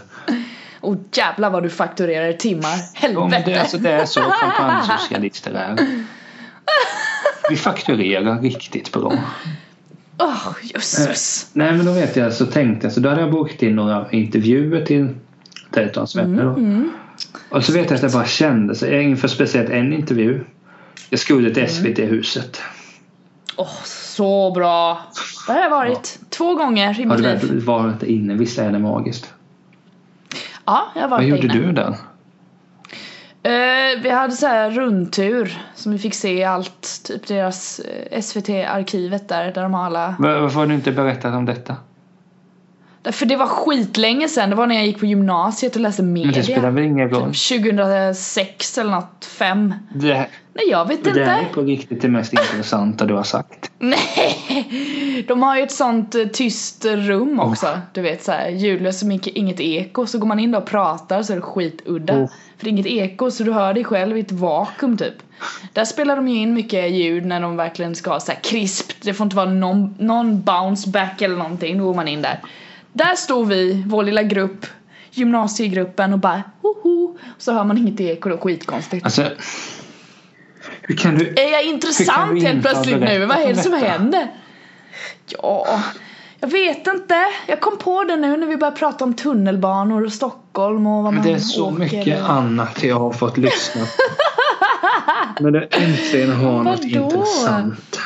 [SPEAKER 2] Och jävlar vad du fakturerar i timmar.
[SPEAKER 1] Jo, men
[SPEAKER 2] Helvete!
[SPEAKER 1] det, alltså, det är så champagnesocialister är. Vi fakturerar riktigt bra.
[SPEAKER 2] Åh, jösses.
[SPEAKER 1] Nej, men då vet jag, så tänkte jag, så då hade jag bokat in några intervjuer till Tältans vänner. då. Och så vet jag att jag bara kände, så jag är inför speciellt en intervju. Jag skulle till SVT-huset.
[SPEAKER 2] Åh, så bra. Det har jag varit två gånger i
[SPEAKER 1] Har
[SPEAKER 2] mitt
[SPEAKER 1] du
[SPEAKER 2] liv.
[SPEAKER 1] väl varit inne? Visst är det magiskt?
[SPEAKER 2] Ja, jag har varit
[SPEAKER 1] Vad gjorde
[SPEAKER 2] där inne.
[SPEAKER 1] du där?
[SPEAKER 2] Eh, vi hade så här rundtur som vi fick se allt, typ deras eh, SVT-arkivet där, där de har alla...
[SPEAKER 1] Var- Varför har du inte berättat om detta?
[SPEAKER 2] För det var skitlänge sedan, det var när jag gick på gymnasiet och läste
[SPEAKER 1] Men det spelar
[SPEAKER 2] media.
[SPEAKER 1] väl ingen roll?
[SPEAKER 2] 2006 eller något, fem.
[SPEAKER 1] Det här-
[SPEAKER 2] Nej, jag vet
[SPEAKER 1] Det
[SPEAKER 2] inte.
[SPEAKER 1] är på riktigt det mest intressanta du har sagt.
[SPEAKER 2] Nej! De har ju ett sånt eh, tyst rum också. Du vet såhär ljudlöst som inget, inget eko. Så går man in där och pratar så är det skitudda.
[SPEAKER 1] Oh.
[SPEAKER 2] För det är inget eko så du hör dig själv i ett vakuum typ. Där spelar de ju in mycket ljud när de verkligen ska ha såhär krispt. Det får inte vara någon, någon bounce back eller någonting. Då går man in där. Där stod vi, vår lilla grupp, gymnasiegruppen och bara hoho. Så hör man inget eko då, skitkonstigt.
[SPEAKER 1] Alltså, hur kan du...
[SPEAKER 2] Är jag
[SPEAKER 1] Hur kan
[SPEAKER 2] intressant
[SPEAKER 1] vi
[SPEAKER 2] helt
[SPEAKER 1] inte ha
[SPEAKER 2] plötsligt nu?
[SPEAKER 1] berättat
[SPEAKER 2] Vad är det
[SPEAKER 1] om
[SPEAKER 2] som
[SPEAKER 1] detta?
[SPEAKER 2] händer? Ja, jag vet inte. Jag kom på det nu när vi började prata om tunnelbanor och Stockholm och vad man
[SPEAKER 1] Men det är så
[SPEAKER 2] åker.
[SPEAKER 1] mycket annat jag har fått lyssna på. Men det äntligen har något
[SPEAKER 2] Vadå?
[SPEAKER 1] intressant.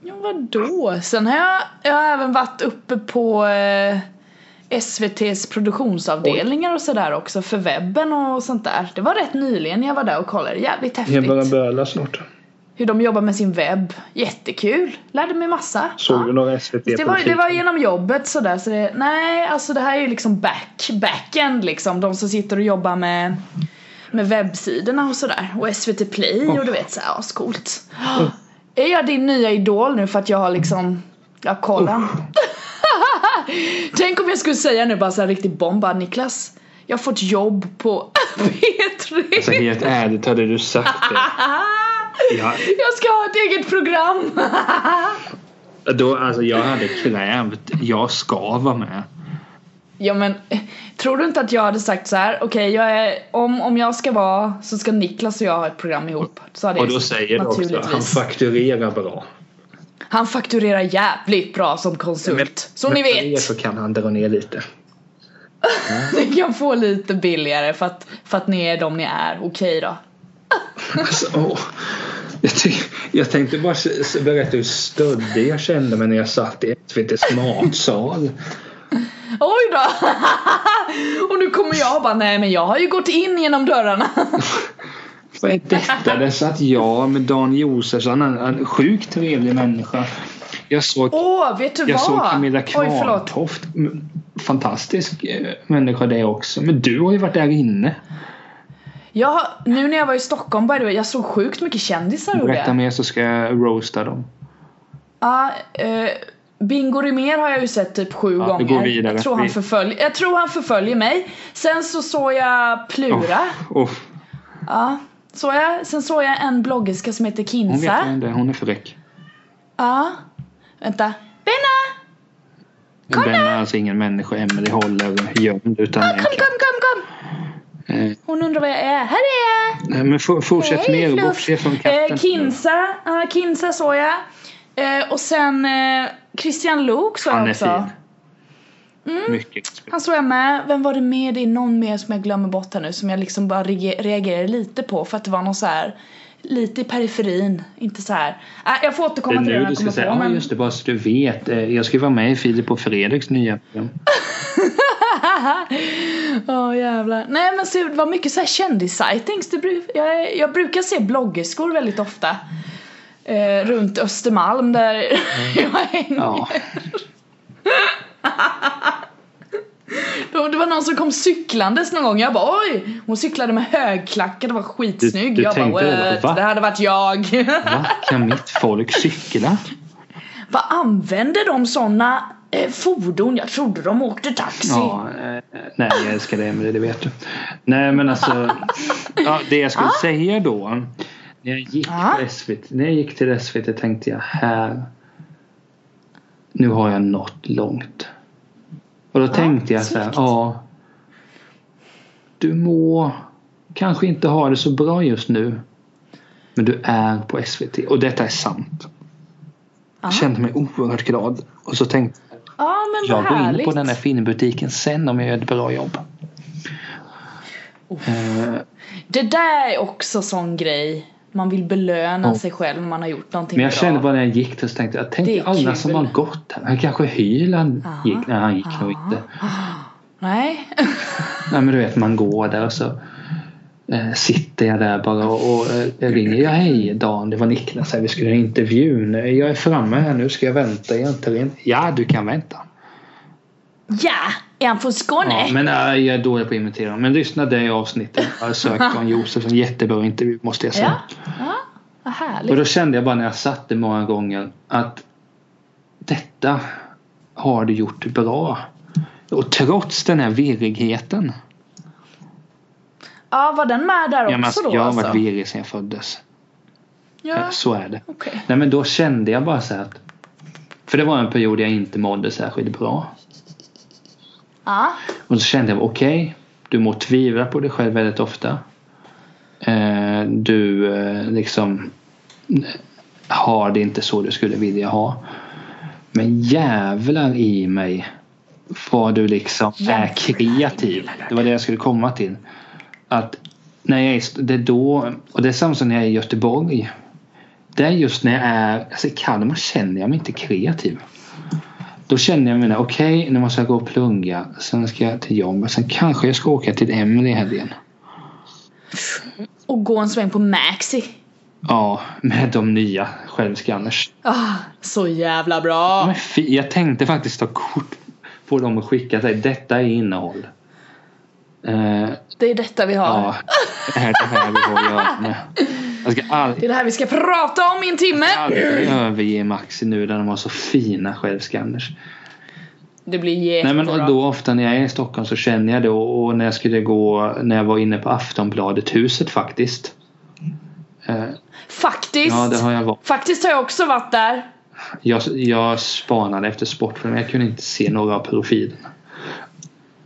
[SPEAKER 2] Ja, vadå? Sen har jag, jag har även varit uppe på eh, SVT's produktionsavdelningar och sådär också för webben och sånt där. Det var rätt nyligen jag var där och kollade. Jävligt häftigt.
[SPEAKER 1] böla snart.
[SPEAKER 2] Hur de jobbar med sin webb. Jättekul. Lärde mig massa. Ja.
[SPEAKER 1] några SVT
[SPEAKER 2] Det var, det var genom jobbet sådär så det, nej alltså det här är ju liksom back, backend liksom de som sitter och jobbar med med webbsidorna och sådär och SVT Play och du vet såhär, ja, ascoolt. Är jag din nya idol nu för att jag har liksom, ja kolla. Tänk om jag skulle säga nu bara såhär riktigt bomb, bara Niklas, jag har fått jobb på P3.
[SPEAKER 1] Alltså helt ärligt, hade du sagt det? Jag,
[SPEAKER 2] Jag ska ha ett eget program!
[SPEAKER 1] då, alltså, jag hade krävt, jag ska vara med.
[SPEAKER 2] Ja men, eh, tror du inte att jag hade sagt så här? okej jag är, om, om jag ska vara så ska Niklas och jag ha ett program ihop. Så hade
[SPEAKER 1] Och
[SPEAKER 2] jag
[SPEAKER 1] då
[SPEAKER 2] sagt,
[SPEAKER 1] säger du också
[SPEAKER 2] naturligtvis.
[SPEAKER 1] han fakturerar bra.
[SPEAKER 2] Han fakturerar jävligt bra som konsult. som ni
[SPEAKER 1] men för er
[SPEAKER 2] vet.
[SPEAKER 1] så kan han dra ner lite.
[SPEAKER 2] Ni kan få lite billigare för att, för att ni är de ni är. Okej då.
[SPEAKER 1] Alltså, åh. Jag, ty- jag tänkte bara s- s- berätta hur stöddig jag kände mig när jag satt i SVT Smartsal.
[SPEAKER 2] Oj då! och nu kommer jag och bara nej men jag har ju gått in genom dörrarna.
[SPEAKER 1] Vad är detta? Där satt jag med Dan Josefsson, en, en sjukt trevlig människa. Jag såg,
[SPEAKER 2] Åh, vet du
[SPEAKER 1] jag
[SPEAKER 2] vad?
[SPEAKER 1] såg Camilla
[SPEAKER 2] Oj förlåt.
[SPEAKER 1] Kvarntoft. M- Fantastisk eh, människa det också. Men du har ju varit där inne.
[SPEAKER 2] Jag, har- nu när jag var i Stockholm by the way, jag såg sjukt mycket kändisar gjorde jag.
[SPEAKER 1] Berätta mer så ska jag roasta dem.
[SPEAKER 2] Ja, eh, Bingo Rimér har jag ju sett typ sju
[SPEAKER 1] Ja, vi
[SPEAKER 2] gånger.
[SPEAKER 1] går vidare.
[SPEAKER 2] Jag, tror han
[SPEAKER 1] Vi-
[SPEAKER 2] förfölj, jag tror han förföljer mig. Sen så såg jag Plura.
[SPEAKER 1] Oh,
[SPEAKER 2] Ja, såg jag. Sen såg jag en bloggerska som heter
[SPEAKER 1] hon vet
[SPEAKER 2] Kinsa.
[SPEAKER 1] vem det är. Hon är fräck.
[SPEAKER 2] Ja. Vänta. Benna!
[SPEAKER 1] Den är alltså ingen människa Emily håller gömd utan
[SPEAKER 2] Kom,
[SPEAKER 1] en
[SPEAKER 2] kom, kom, kom!
[SPEAKER 1] Eh,
[SPEAKER 2] Hon undrar var jag är. Här är jag!
[SPEAKER 1] Nej, men for, fortsätt
[SPEAKER 2] Hej,
[SPEAKER 1] mer och
[SPEAKER 2] Fluff.
[SPEAKER 1] bortse från katten.
[SPEAKER 2] Eh, Kinsa, ja, Kinsa såg jag. Eh, och sen eh, Christian Luuk såg
[SPEAKER 1] Han
[SPEAKER 2] jag
[SPEAKER 1] är
[SPEAKER 2] också. Mm.
[SPEAKER 1] fin. Mycket.
[SPEAKER 2] Han såg jag med. Vem var det med? Det är någon mer som jag glömmer bort här nu som jag liksom bara rege- reagerade lite på för att det var någon så här lite i periferin. Inte så här. Äh, jag får
[SPEAKER 1] Det är
[SPEAKER 2] återkomma till det
[SPEAKER 1] nu
[SPEAKER 2] när
[SPEAKER 1] du
[SPEAKER 2] jag
[SPEAKER 1] ska
[SPEAKER 2] kommer
[SPEAKER 1] säga,
[SPEAKER 2] på.
[SPEAKER 1] ja
[SPEAKER 2] Men...
[SPEAKER 1] just det, bara så du vet. Eh, Jag ska ju vara med i Filip och Fredriks nya program.
[SPEAKER 2] Åh jävlar. Nej men så, det var mycket så här kändis-sightings. Det bru- jag, är- jag brukar se bloggerskor väldigt ofta. Eh, runt Östermalm där jag hänger.
[SPEAKER 1] Mm. Ja.
[SPEAKER 2] Då- Det var någon som kom cyklandes någon gång. Jag bara oj! Hon cyklade med högklackat och var skitsnygg.
[SPEAKER 1] Du- du
[SPEAKER 2] jag bara
[SPEAKER 1] tänkte det,
[SPEAKER 2] "What?
[SPEAKER 1] va?"
[SPEAKER 2] det hade varit jag.
[SPEAKER 1] Va? Kan mitt folk cykla?
[SPEAKER 2] Vad använder de såna eh, fordon? Jag trodde de åkte taxi.
[SPEAKER 1] Ja, eh, nej jag älskar dig Emelie, det vet du. Nej men alltså. Ja, det jag skulle säga då. När jag, gick
[SPEAKER 2] Ja.
[SPEAKER 1] till SVT, när jag gick till SVT tänkte jag här. Nu har jag nått långt. Och då tänkte jag så här.
[SPEAKER 2] snyggt.
[SPEAKER 1] Ja. Du må kanske inte ha det så bra just nu. Men du är på SVT och detta är sant. Jag kände mig oerhört glad. Och så tänkte
[SPEAKER 2] Ja, men
[SPEAKER 1] jag
[SPEAKER 2] vad
[SPEAKER 1] går in
[SPEAKER 2] härligt.
[SPEAKER 1] på den här filmbutiken sen om jag gör ett bra jobb.
[SPEAKER 2] Det där är också sån grej. Man vill belöna
[SPEAKER 1] Ja.
[SPEAKER 2] sig själv när man har gjort någonting
[SPEAKER 1] Men jag
[SPEAKER 2] bra.
[SPEAKER 1] kände bara när jag gick där så tänkte jag,
[SPEAKER 2] Det
[SPEAKER 1] tänk
[SPEAKER 2] är
[SPEAKER 1] alla
[SPEAKER 2] kul.
[SPEAKER 1] som har gått här. Han kanske Hyland
[SPEAKER 2] Aha.
[SPEAKER 1] gick. Nej, han gick nog
[SPEAKER 2] Aha.
[SPEAKER 1] inte.
[SPEAKER 2] Nej.
[SPEAKER 1] Nej, men du vet, man går där och så eh, sitter jag där bara och, och eh, ringer. Ja, hej Dan, det var Niklas här. Vi skulle ha intervjun. Jag är framme här nu. Ska jag vänta egentligen? Ja, du kan vänta.
[SPEAKER 2] Ja, är han från Skåne?
[SPEAKER 1] Ja, men nej, jag är dålig på att imitera. Men lyssna det avsnittet. Jag har sökt Dan Josefsson. Jättebra intervju måste jag säga.
[SPEAKER 2] ja. ja. Vad härligt.
[SPEAKER 1] Och då kände jag bara när jag satt det många gånger att detta har du gjort bra. Och trots den här virrigheten.
[SPEAKER 2] Ja, var den med där
[SPEAKER 1] Jag, menar,
[SPEAKER 2] också då
[SPEAKER 1] jag har
[SPEAKER 2] alltså?
[SPEAKER 1] varit virrig sedan jag föddes.
[SPEAKER 2] Ja,
[SPEAKER 1] Så är det.
[SPEAKER 2] okej.
[SPEAKER 1] Nej men då kände jag bara så här att. För det var en period jag inte mådde särskilt bra.
[SPEAKER 2] Ja.
[SPEAKER 1] Och så kände jag okej. du må tvivla på dig själv väldigt ofta. Eh, du eh, liksom har det inte så du skulle vilja ha. Men jävlar i mig vad du liksom är
[SPEAKER 2] Jävlar
[SPEAKER 1] kreativ. Det var det jag skulle komma till. Att när jag är, i st- det är då, och det är samma som när jag är i Göteborg. Det är just när jag är, alltså i Kalmar känner jag mig inte kreativ. Då känner jag mig, okej nu måste jag gå och plugga. Sen ska jag till jobbet. Sen kanske jag ska åka till Emelie i helgen.
[SPEAKER 2] Och gå en sväng på Maxi.
[SPEAKER 1] Ja, med de nya självscanners.
[SPEAKER 2] Ah, så jävla bra.
[SPEAKER 1] Men fi- jag tänkte faktiskt ta kort på dem och skicka till dig. Detta är innehåll. Eh,
[SPEAKER 2] Det är detta vi har.
[SPEAKER 1] ja, det är det här vi har att göra med. Jag ska
[SPEAKER 2] Det
[SPEAKER 1] aldrig,
[SPEAKER 2] är det här vi ska prata om i en timme.
[SPEAKER 1] aldrig överge Maxi nu när de har så fina självscanners.
[SPEAKER 2] Det blir
[SPEAKER 1] Nej
[SPEAKER 2] jättebra.
[SPEAKER 1] men och då ofta när jag är i Stockholm så känner jag det och och när jag skulle gå, när jag var inne på Aftonbladet huset faktiskt. Eh,
[SPEAKER 2] Faktiskt.
[SPEAKER 1] ja, det har jag varit.
[SPEAKER 2] Faktiskt har jag också varit där.
[SPEAKER 1] Jag, jag spanade efter sportfilmer men jag kunde inte se några av profilerna.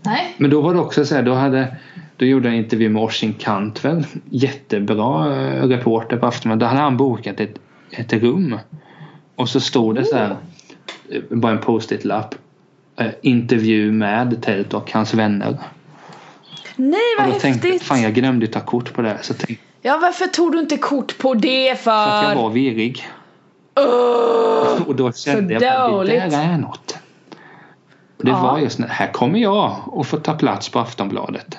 [SPEAKER 2] Nej.
[SPEAKER 1] Men då var det också så här, då hade då gjorde jag en intervju med Orsin Cantwell. Jättebra eh, reporter på Aftonbladet. Då hade han bokat ett, ett rum. Och så stod det så här. eh, Bara en post-it-lapp. eh, Intervju med Tält och hans vänner.
[SPEAKER 2] Nej
[SPEAKER 1] Och
[SPEAKER 2] vad
[SPEAKER 1] då tänkte jag,
[SPEAKER 2] häftigt!
[SPEAKER 1] fan jag glömde ju ta kort på det här. Så tänkte
[SPEAKER 2] Ja varför tog du inte kort på det för?
[SPEAKER 1] jag att jag var virrig.
[SPEAKER 2] Ugh!
[SPEAKER 1] Och då kände jag att det
[SPEAKER 2] dåligt.
[SPEAKER 1] där är något. Och det
[SPEAKER 2] Ja.
[SPEAKER 1] var just när, här kommer jag och får ta plats på Aftonbladet.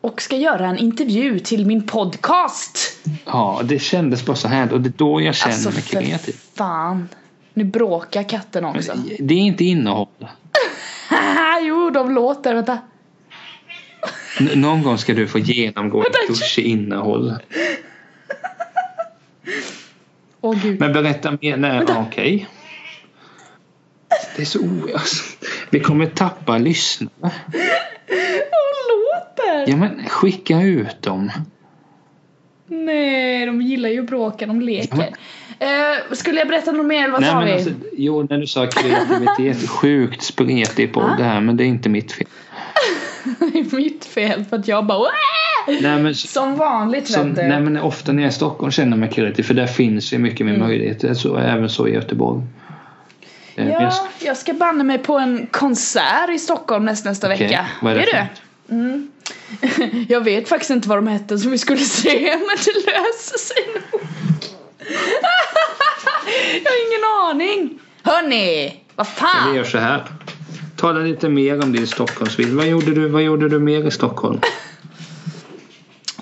[SPEAKER 2] Och ska göra en intervju till min podcast!
[SPEAKER 1] Ja, det kändes bara så här. Och det är då jag känner
[SPEAKER 2] Alltså
[SPEAKER 1] mig
[SPEAKER 2] för
[SPEAKER 1] kreativ.
[SPEAKER 2] fan. Nu bråkar katten också.
[SPEAKER 1] Alltså, Det är inte innehåll.
[SPEAKER 2] Haha, jo de låter, vänta.
[SPEAKER 1] N- någon gång ska du få genomgå
[SPEAKER 2] Vänta.
[SPEAKER 1] ett kurs i innehåll.
[SPEAKER 2] Åh gud.
[SPEAKER 1] Men berätta mer. Nej, ja, okej. Det är så o... Alltså, vi kommer tappa lyssnare.
[SPEAKER 2] De låter!
[SPEAKER 1] Ja, men skicka ut dem.
[SPEAKER 2] Nej, de gillar ju att bråka, de leker. Eh, skulle jag berätta något mer eller vad
[SPEAKER 1] Nej,
[SPEAKER 2] sa
[SPEAKER 1] men
[SPEAKER 2] vi?
[SPEAKER 1] alltså, jo, när du sa kreativitet. sjukt spretig på det här, men det är inte mitt fel.
[SPEAKER 2] Det är mitt fel för att jag bara "Wah!"
[SPEAKER 1] Nej, men,
[SPEAKER 2] Som vanligt
[SPEAKER 1] som,
[SPEAKER 2] vet du.
[SPEAKER 1] nej, men ofta när jag är i Stockholm känner jag mig kreativ, för där finns ju mycket
[SPEAKER 2] Mm.
[SPEAKER 1] mer möjligheter. Så, även så i Göteborg. Eh, men jag-
[SPEAKER 2] Ja, jag ska banne mig på en konsert i Stockholm näst, nästa
[SPEAKER 1] okej,
[SPEAKER 2] vecka.
[SPEAKER 1] vad är det för
[SPEAKER 2] du?
[SPEAKER 1] något?
[SPEAKER 2] Jag vet faktiskt inte vad de hette som vi skulle se men det löser sig nog. jag har ingen aning. Hörni, vad
[SPEAKER 1] Vi
[SPEAKER 2] fan.
[SPEAKER 1] gör så här. Tala lite mer om din Stockholmsbild. Vad gjorde du, vad gjorde du mer i Stockholm?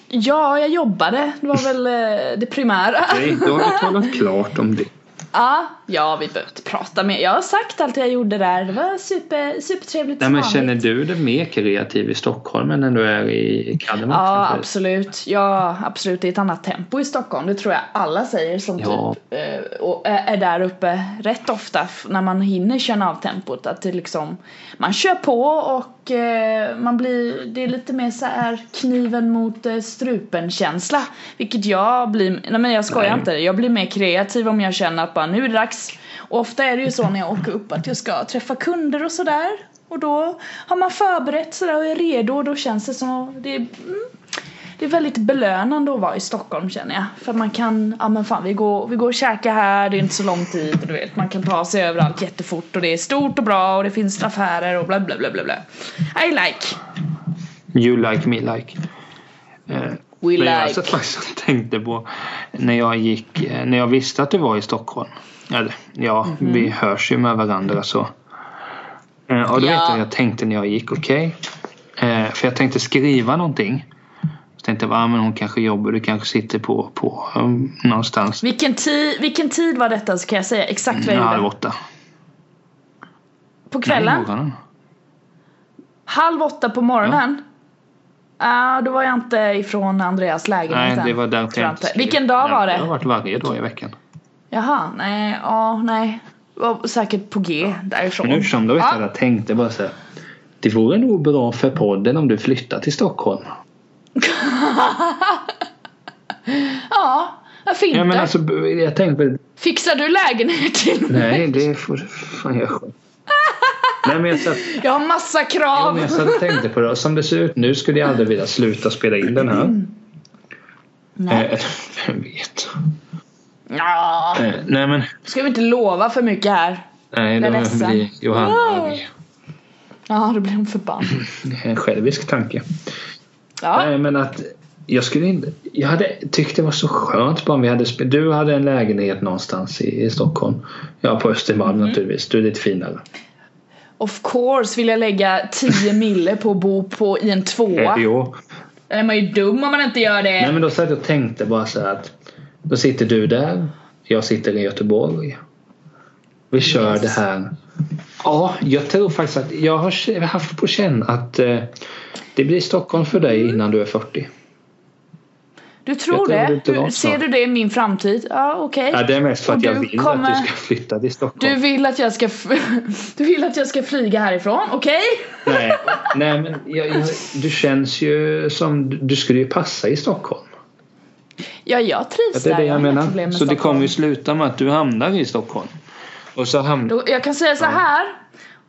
[SPEAKER 2] Ja, jag jobbade. Det var väl eh, det primära.
[SPEAKER 1] Nej, då har vi talat klart om det.
[SPEAKER 2] Ja, ja, vi behöver inte prata mer. Jag har sagt allt jag gjorde där. Det var super, supertrevligt
[SPEAKER 1] Nej,
[SPEAKER 2] som
[SPEAKER 1] men
[SPEAKER 2] vanligt.
[SPEAKER 1] känner du dig mer kreativ i Stockholm än när du är i Kalmar?
[SPEAKER 2] Ja,
[SPEAKER 1] exempelvis?
[SPEAKER 2] absolut. Ja, absolut. Det är ett annat tempo i Stockholm. Det tror jag alla säger som
[SPEAKER 1] Ja.
[SPEAKER 2] typ eh, och är är där uppe rätt ofta f- när man hinner känna av tempot. Att det liksom, man kör på och eh, man blir, det är lite mer så här kniven mot eh, strupen känsla. Vilket jag blir, nej men jag skojar
[SPEAKER 1] Nej.
[SPEAKER 2] inte. Jag blir mer kreativ om jag känner att bara nu är det dags. Och ofta är det ju så när jag åker upp att jag ska träffa kunder och sådär. Och då har man förberett sådär och är redo och då känns det som det är, mm, det är väldigt belönande att vara i Stockholm känner jag. För man kan, ja men fan vi går, vi går och käkar här, det är inte så lång tid och du vet man kan ta sig överallt jättefort och det är stort och bra och det finns affärer och bla bla bla bla bla. I like,
[SPEAKER 1] You like me like. Eh,
[SPEAKER 2] we
[SPEAKER 1] men
[SPEAKER 2] like.
[SPEAKER 1] jag satt faktiskt och tänkte på när jag gick, eh, när jag visste att du var i Stockholm. Eller, ja,
[SPEAKER 2] Mhm.
[SPEAKER 1] vi hörs ju med varandra så. Eh, Och då
[SPEAKER 2] Ja.
[SPEAKER 1] vet jag, jag tänkte när jag gick, okej. Eh, För jag tänkte skriva någonting. Så tänkte jag, ah, men hon kanske jobbar, du kanske sitter på, på um, någonstans.
[SPEAKER 2] Vilken, ti, vilken tid var detta så kan jag säga exakt vad jag
[SPEAKER 1] Halv
[SPEAKER 2] gjorde.
[SPEAKER 1] åtta.
[SPEAKER 2] På
[SPEAKER 1] Nej,
[SPEAKER 2] kvällen?
[SPEAKER 1] morgonen.
[SPEAKER 2] Halv åtta på morgonen? Ja, då var jag inte ifrån Andreas lägenhet
[SPEAKER 1] Nej,
[SPEAKER 2] än,
[SPEAKER 1] det var därför
[SPEAKER 2] tror
[SPEAKER 1] jag
[SPEAKER 2] jag
[SPEAKER 1] inte
[SPEAKER 2] inte.
[SPEAKER 1] skrev.
[SPEAKER 2] Vilken dag
[SPEAKER 1] Nej,
[SPEAKER 2] var
[SPEAKER 1] Det har
[SPEAKER 2] det?
[SPEAKER 1] varit varje dag i veckan.
[SPEAKER 2] Jaha, nej, ja, nej. Var säkert på G därifrån.
[SPEAKER 1] Men nu som då vet
[SPEAKER 2] Mm. Ja.
[SPEAKER 1] jag, jag tänkte bara så här. Det vore nog bra för podden om du flyttar till Stockholm.
[SPEAKER 2] Ja, varför inte?
[SPEAKER 1] Ja men alltså b- jag tänkte på
[SPEAKER 2] Fixar du lägenhet till mig?
[SPEAKER 1] Nej det får fan jag själv. Nej men jag satt,
[SPEAKER 2] Jag har massa
[SPEAKER 1] ja,
[SPEAKER 2] krav.
[SPEAKER 1] men jag satt och tänkte på det. Som det ser ut nu skulle jag aldrig vilja sluta spela in den här.
[SPEAKER 2] Nej.
[SPEAKER 1] Eh, vem vet.
[SPEAKER 2] Ja,
[SPEAKER 1] Eh, nej men.
[SPEAKER 2] ska vi inte lova för mycket här?
[SPEAKER 1] Nej
[SPEAKER 2] Jag är
[SPEAKER 1] då
[SPEAKER 2] ledsen.
[SPEAKER 1] blir Johanna arg.
[SPEAKER 2] Ja, då blir hon förbannad.
[SPEAKER 1] En självisk tanke.
[SPEAKER 2] Ja,
[SPEAKER 1] Nej men att jag skulle inte, jag hade tyckt det var så skönt bara om vi hade, spe- du hade en lägenhet någonstans i, i Stockholm. Ja på Östermalm
[SPEAKER 2] Mm.
[SPEAKER 1] naturligtvis, du är lite finare.
[SPEAKER 2] of course vill jag lägga 10 mille på att bo på i en tvåa.
[SPEAKER 1] Eh, jo.
[SPEAKER 2] Då är man ju dum om man inte gör det.
[SPEAKER 1] Nej men då satt jag och tänkte bara så här att då sitter du där, jag sitter i Göteborg. Vi kör det här. Ja, jag tror faktiskt att jag har k- haft på känn att eh, det blir Stockholm för dig
[SPEAKER 2] Mm.
[SPEAKER 1] innan du är 40.
[SPEAKER 2] Du tror
[SPEAKER 1] Jag tror det
[SPEAKER 2] det?
[SPEAKER 1] inte var
[SPEAKER 2] Du,
[SPEAKER 1] så.
[SPEAKER 2] ser du det i min framtid? Ja, okej.
[SPEAKER 1] Ja, det är mest för
[SPEAKER 2] Och
[SPEAKER 1] att jag
[SPEAKER 2] du
[SPEAKER 1] vill
[SPEAKER 2] kommer-
[SPEAKER 1] att du ska flytta till Stockholm.
[SPEAKER 2] Du vill att jag ska f- Du vill att jag ska flyga härifrån, okej?
[SPEAKER 1] Nej, nej men jag, jag, du känns ju som du skulle ju passa i Stockholm.
[SPEAKER 2] Ja, jag
[SPEAKER 1] Ja,
[SPEAKER 2] trivs
[SPEAKER 1] det är det
[SPEAKER 2] där. har
[SPEAKER 1] jag
[SPEAKER 2] inga
[SPEAKER 1] menar. Så
[SPEAKER 2] problem med
[SPEAKER 1] det
[SPEAKER 2] Stockholm.
[SPEAKER 1] kommer ju sluta med att du hamnar i Stockholm. Och så hamnar...
[SPEAKER 2] Då, jag kan säga så här.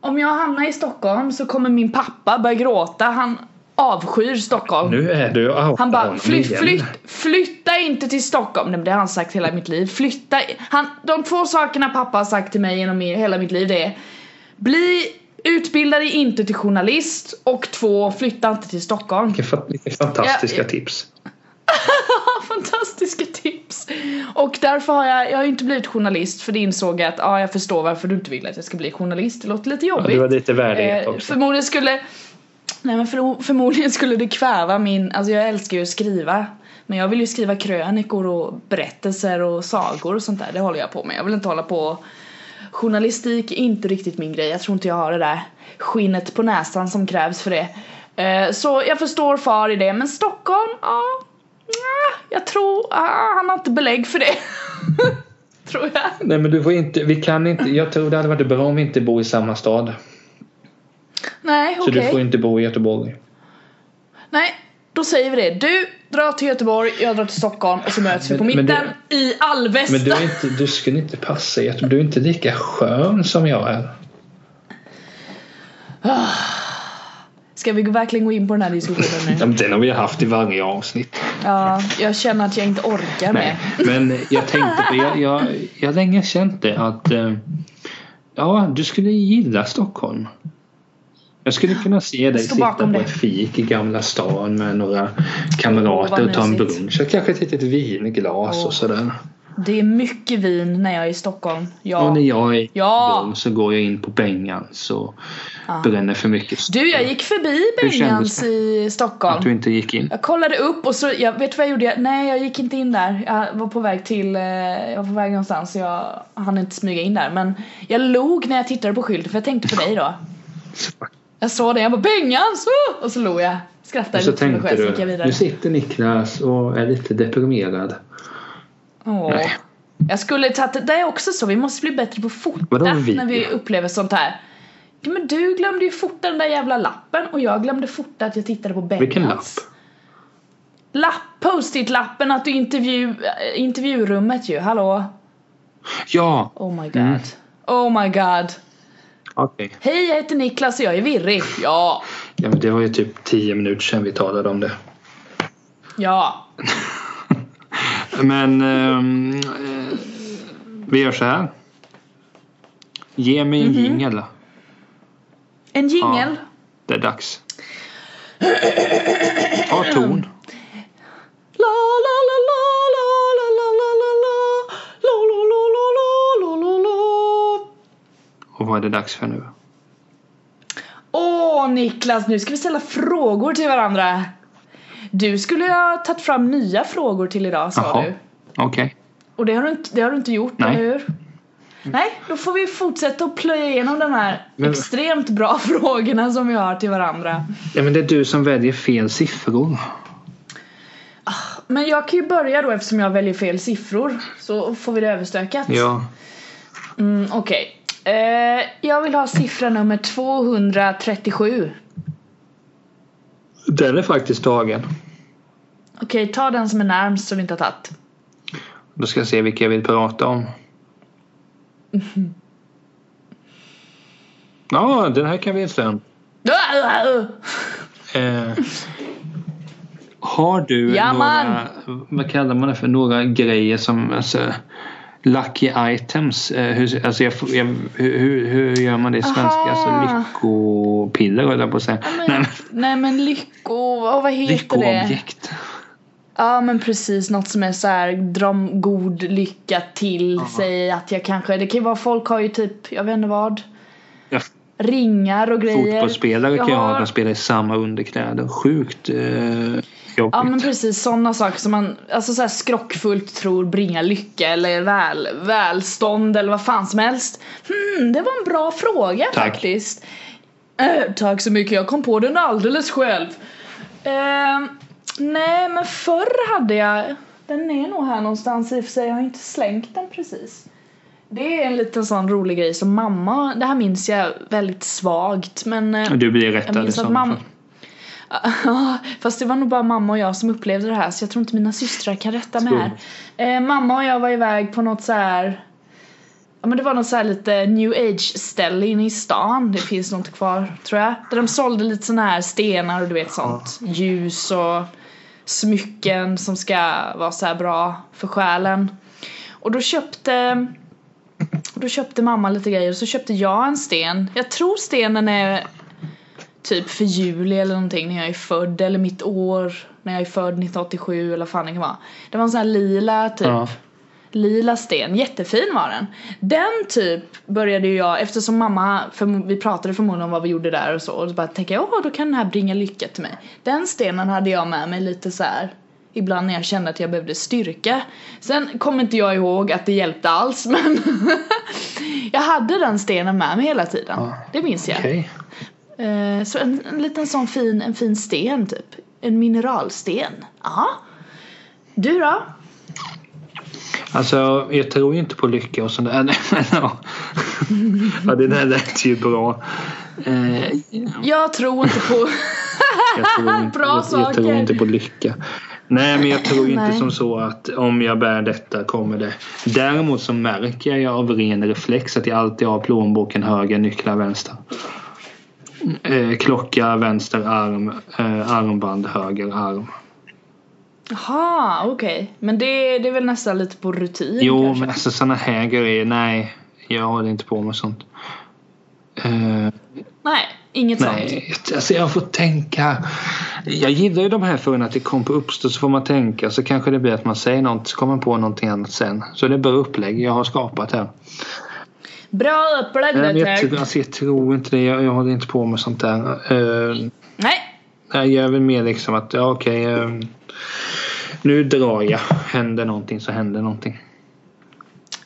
[SPEAKER 2] Om jag hamnar i Stockholm så kommer min pappa börja gråta. Han avskyr Stockholm.
[SPEAKER 1] Nu är du out
[SPEAKER 2] Han bara flytt, flytt, flytta inte till Stockholm. Nej, men det har han sagt hela mitt liv. Flytta. i- Han, de två sakerna pappa har sagt till mig genom i- hela mitt liv det är bli utbilda dig inte till journalist och två flytta inte till Stockholm.
[SPEAKER 1] Vilka, fa- vilka fantastiska
[SPEAKER 2] Ja.
[SPEAKER 1] tips.
[SPEAKER 2] Fantastiska tips! Och därför har jag, jag har ju inte blivit journalist för det insåg jag att ja, jag förstår varför du inte vill att jag ska bli journalist. Det låter lite jobbigt.
[SPEAKER 1] Du har lite värdighet
[SPEAKER 2] Eh,
[SPEAKER 1] också.
[SPEAKER 2] förmodligen skulle Nej men för, förmodligen skulle det kväva min, alltså jag älskar ju att skriva Men jag vill ju skriva krönikor och berättelser och sagor och sånt där, det håller jag på med Jag vill inte hålla på Journalistik är inte riktigt min grej, jag tror inte jag har det där skinnet på näsan som krävs för det Eh, Så jag förstår far i det, men Stockholm, ja nja, Jag tror, ah, han har inte belägg för det Tror jag
[SPEAKER 1] Nej men du får inte, vi kan inte, jag tror det hade varit bra om vi inte bor i samma stad.
[SPEAKER 2] Nej
[SPEAKER 1] Så
[SPEAKER 2] okej
[SPEAKER 1] du får inte bo i Göteborg.
[SPEAKER 2] Nej, då säger vi det. Du drar till Göteborg, jag drar till Stockholm och så möts vi
[SPEAKER 1] Men-
[SPEAKER 2] på
[SPEAKER 1] men
[SPEAKER 2] mitten
[SPEAKER 1] det-
[SPEAKER 2] i Alvesta.
[SPEAKER 1] Men du, är inte, du skulle inte passa i Göteborg. Du är inte lika skön som jag är.
[SPEAKER 2] Ska vi verkligen gå in på den här diskussionen
[SPEAKER 1] Ja,
[SPEAKER 2] nu?
[SPEAKER 1] men Den har vi haft i varje avsnitt.
[SPEAKER 2] Ja, jag känner att jag inte orkar
[SPEAKER 1] Nej,
[SPEAKER 2] med.
[SPEAKER 1] men jag tänkte på, jag, jag, jag har länge känt det att eh, ja, du skulle gilla Stockholm. Jag skulle kunna se dig
[SPEAKER 2] står
[SPEAKER 1] sitta på
[SPEAKER 2] bakom det.
[SPEAKER 1] ett fik i Gamla stan med några kamrater
[SPEAKER 2] Åh, vad
[SPEAKER 1] och ta en
[SPEAKER 2] mysigt.
[SPEAKER 1] brunch. Och Kanske ett litet vinglas
[SPEAKER 2] Åh.
[SPEAKER 1] och sådär.
[SPEAKER 2] Det är mycket vin när jag är i Stockholm.
[SPEAKER 1] Och
[SPEAKER 2] Ja.
[SPEAKER 1] när jag är
[SPEAKER 2] Ja. Ah.
[SPEAKER 1] dum så går jag in på Bengans och bränner för mycket.
[SPEAKER 2] Du, jag gick förbi
[SPEAKER 1] Hur kändes
[SPEAKER 2] Benjans i
[SPEAKER 1] Att du
[SPEAKER 2] Stockholm.
[SPEAKER 1] inte gick in.
[SPEAKER 2] Jag kollade upp och så, jag, vet du vad jag gjorde? Nej, jag gick inte in där. Jag var på väg till, eh, jag var på väg någonstans så jag hann inte smyga in där. Men jag log när jag tittade på skylten för jag tänkte på dig då. Jag såg det, jag bara Bengans! Uh! Och så log jag. Skrattade
[SPEAKER 1] Och så
[SPEAKER 2] lite för mig
[SPEAKER 1] tänkte
[SPEAKER 2] själv, så gick jag
[SPEAKER 1] du,
[SPEAKER 2] vidare.
[SPEAKER 1] nu sitter Niklas och är lite deprimerad.
[SPEAKER 2] Åh.
[SPEAKER 1] Nej.
[SPEAKER 2] Jag skulle tagit, det är också så, vi måste bli bättre på att fota
[SPEAKER 1] Vadå vi?
[SPEAKER 2] när vi upplever sånt här. Ja, men du glömde ju fota den där jävla lappen och jag glömde fota att jag tittade på Bengans.
[SPEAKER 1] Vilken lapp?
[SPEAKER 2] Lapp, post-it-lappen att du intervju, äh, intervjurummet ju, hallå?
[SPEAKER 1] Ja!
[SPEAKER 2] Oh my god.
[SPEAKER 1] Mm.
[SPEAKER 2] Oh my god.
[SPEAKER 1] Okej.
[SPEAKER 2] Hej jag heter Niklas och jag är virrig. Ja,
[SPEAKER 1] Ja, men det var ju typ tio minuter sedan vi talade om det.
[SPEAKER 2] ja.
[SPEAKER 1] Men ehm, eh, vi gör så här. Ge mig en jingel.
[SPEAKER 2] En jingel.
[SPEAKER 1] Det är dags. Ta ton.
[SPEAKER 2] La la la la la la la la la la la la la la la la la la
[SPEAKER 1] Och vad är det dags för nu?
[SPEAKER 2] Åh Niklas, nu ska vi ställa frågor till varandra. Du skulle ju ha tagit fram nya frågor till idag sa du.
[SPEAKER 1] Okej.
[SPEAKER 2] Och det har du inte, det har du inte gjort,
[SPEAKER 1] Nej.
[SPEAKER 2] eller hur? Nej, då får vi fortsätta att plöja igenom de här
[SPEAKER 1] Men-
[SPEAKER 2] extremt bra frågorna som vi har till varandra.
[SPEAKER 1] Ja, men det är du som väljer fel siffror.
[SPEAKER 2] Men jag kan ju börja då eftersom jag väljer fel siffror. Så får vi det överstökat.
[SPEAKER 1] Ja.
[SPEAKER 2] Mm, Okej. Eh, jag vill ha siffra nummer 237.
[SPEAKER 1] Den är faktiskt tagen.
[SPEAKER 2] Okej, ta den som är närmst som vi inte har tagit.
[SPEAKER 1] Då ska jag se vilka jag vill prata om. Ja, den här kan vi sen. Eh, har du
[SPEAKER 2] Ja,
[SPEAKER 1] några, vad kallar man det för, några grejer som alltså, lucky items? Eh, hur, alltså jag, jag, hur- hur, hur gör man det i svenska?
[SPEAKER 2] Aha.
[SPEAKER 1] Alltså lyckopiller höll jag på att säga.
[SPEAKER 2] Men, nej, men lycko... åh, vad heter det?
[SPEAKER 1] Lyckoobjekt.
[SPEAKER 2] Ja men precis, något som är så här dra om god lycka till sig att jag kanske, det kan ju vara folk har ju typ, jag vet inte vad,
[SPEAKER 1] Ja,
[SPEAKER 2] ringar och grejer.
[SPEAKER 1] fotbollsspelare
[SPEAKER 2] Jag
[SPEAKER 1] kan ju ha
[SPEAKER 2] har-
[SPEAKER 1] att de spelar i samma underkläder. Sjukt eh, jobbigt.
[SPEAKER 2] Ja men precis sådana saker som man alltså så här skrockfullt tror bringar lycka eller väl, välstånd eller vad fan som helst. Hmm, det var en bra fråga
[SPEAKER 1] Tack.
[SPEAKER 2] faktiskt. Eh, tack så mycket, jag kom på den alldeles själv. Eh, nej men förr hade jag, den är nog här någonstans i och för sig, jag har inte slängt den precis. Det är en liten sån rolig grej som mamma, det här minns jag väldigt svagt men eh,
[SPEAKER 1] Du blir
[SPEAKER 2] jag
[SPEAKER 1] rättad i
[SPEAKER 2] minns att
[SPEAKER 1] sådana
[SPEAKER 2] mamma...
[SPEAKER 1] fall.
[SPEAKER 2] Ja, Fast det var nog bara mamma och jag som upplevde det här så jag tror inte mina systrar kan rätta mig här. Eh, mamma och jag var iväg på något så här Ja men det var någon så här lite new age ställe inne i stan. Det finns nog inte kvar tror jag. Där de sålde lite såna här stenar och du vet sånt. Ljus och smycken som ska vara så här bra för själen. Och då köpte då köpte mamma lite grejer och så köpte jag en sten. Jag tror stenen är typ för juli eller någonting när jag är född eller mitt år när jag är född 1987 eller vad fan det kan vara. Det var en sån här lila typ
[SPEAKER 1] Ja.
[SPEAKER 2] lila sten, jättefin var den. Den typ började ju jag, eftersom mamma, för vi pratade förmodligen om vad vi gjorde där och så, och så bara tänkte jag åh då kan den här bringa lycka till mig. Den stenen hade jag med mig lite så här. Ibland när jag kände att jag behövde styrka. Sen kommer inte jag ihåg att det hjälpte alls men Jag hade den stenen med mig hela tiden.
[SPEAKER 1] Ja.
[SPEAKER 2] Det minns jag.
[SPEAKER 1] Okej.
[SPEAKER 2] Eh, Så en, en liten sån fin, en fin sten typ. En mineralsten. Ja. Du då?
[SPEAKER 1] Alltså, jag tror ju inte på lycka och sånt där. Men, ja. ja, det där lät ju bra. Eh,
[SPEAKER 2] Jag tror inte på...
[SPEAKER 1] jag, tror inte,
[SPEAKER 2] Bra
[SPEAKER 1] jag, jag tror
[SPEAKER 2] saker.
[SPEAKER 1] inte på lycka. Nej, men jag tror inte
[SPEAKER 2] Nej.
[SPEAKER 1] som så att om jag bär detta kommer det. Däremot så märker jag av ren reflex att jag alltid har plånboken höger, nycklar vänster. Eh, klocka vänster arm, eh, armband höger arm.
[SPEAKER 2] Jaha, okej. Men det, det är väl nästan lite på rutin
[SPEAKER 1] Jo,
[SPEAKER 2] kanske?
[SPEAKER 1] men alltså sådana här grejer, nej. Jag håller inte på med sånt. Eh,
[SPEAKER 2] Nej, inget sånt.
[SPEAKER 1] Nej, alltså jag får tänka. Jag gillar ju de här förrän att det kom på uppstå så får man tänka så kanske det blir att man säger något så kommer man på någonting annat sen. Så det är bra upplägg jag har skapat här.
[SPEAKER 2] Bra upplägg
[SPEAKER 1] Nej, men
[SPEAKER 2] där
[SPEAKER 1] jag, tror-
[SPEAKER 2] Ted.
[SPEAKER 1] alltså jag tror inte det. Jag, jag håller inte på med sånt där. Eh,
[SPEAKER 2] Nej,
[SPEAKER 1] jag gör väl mer liksom att ja, okej. eh, nu drar jag. Händer någonting så händer någonting.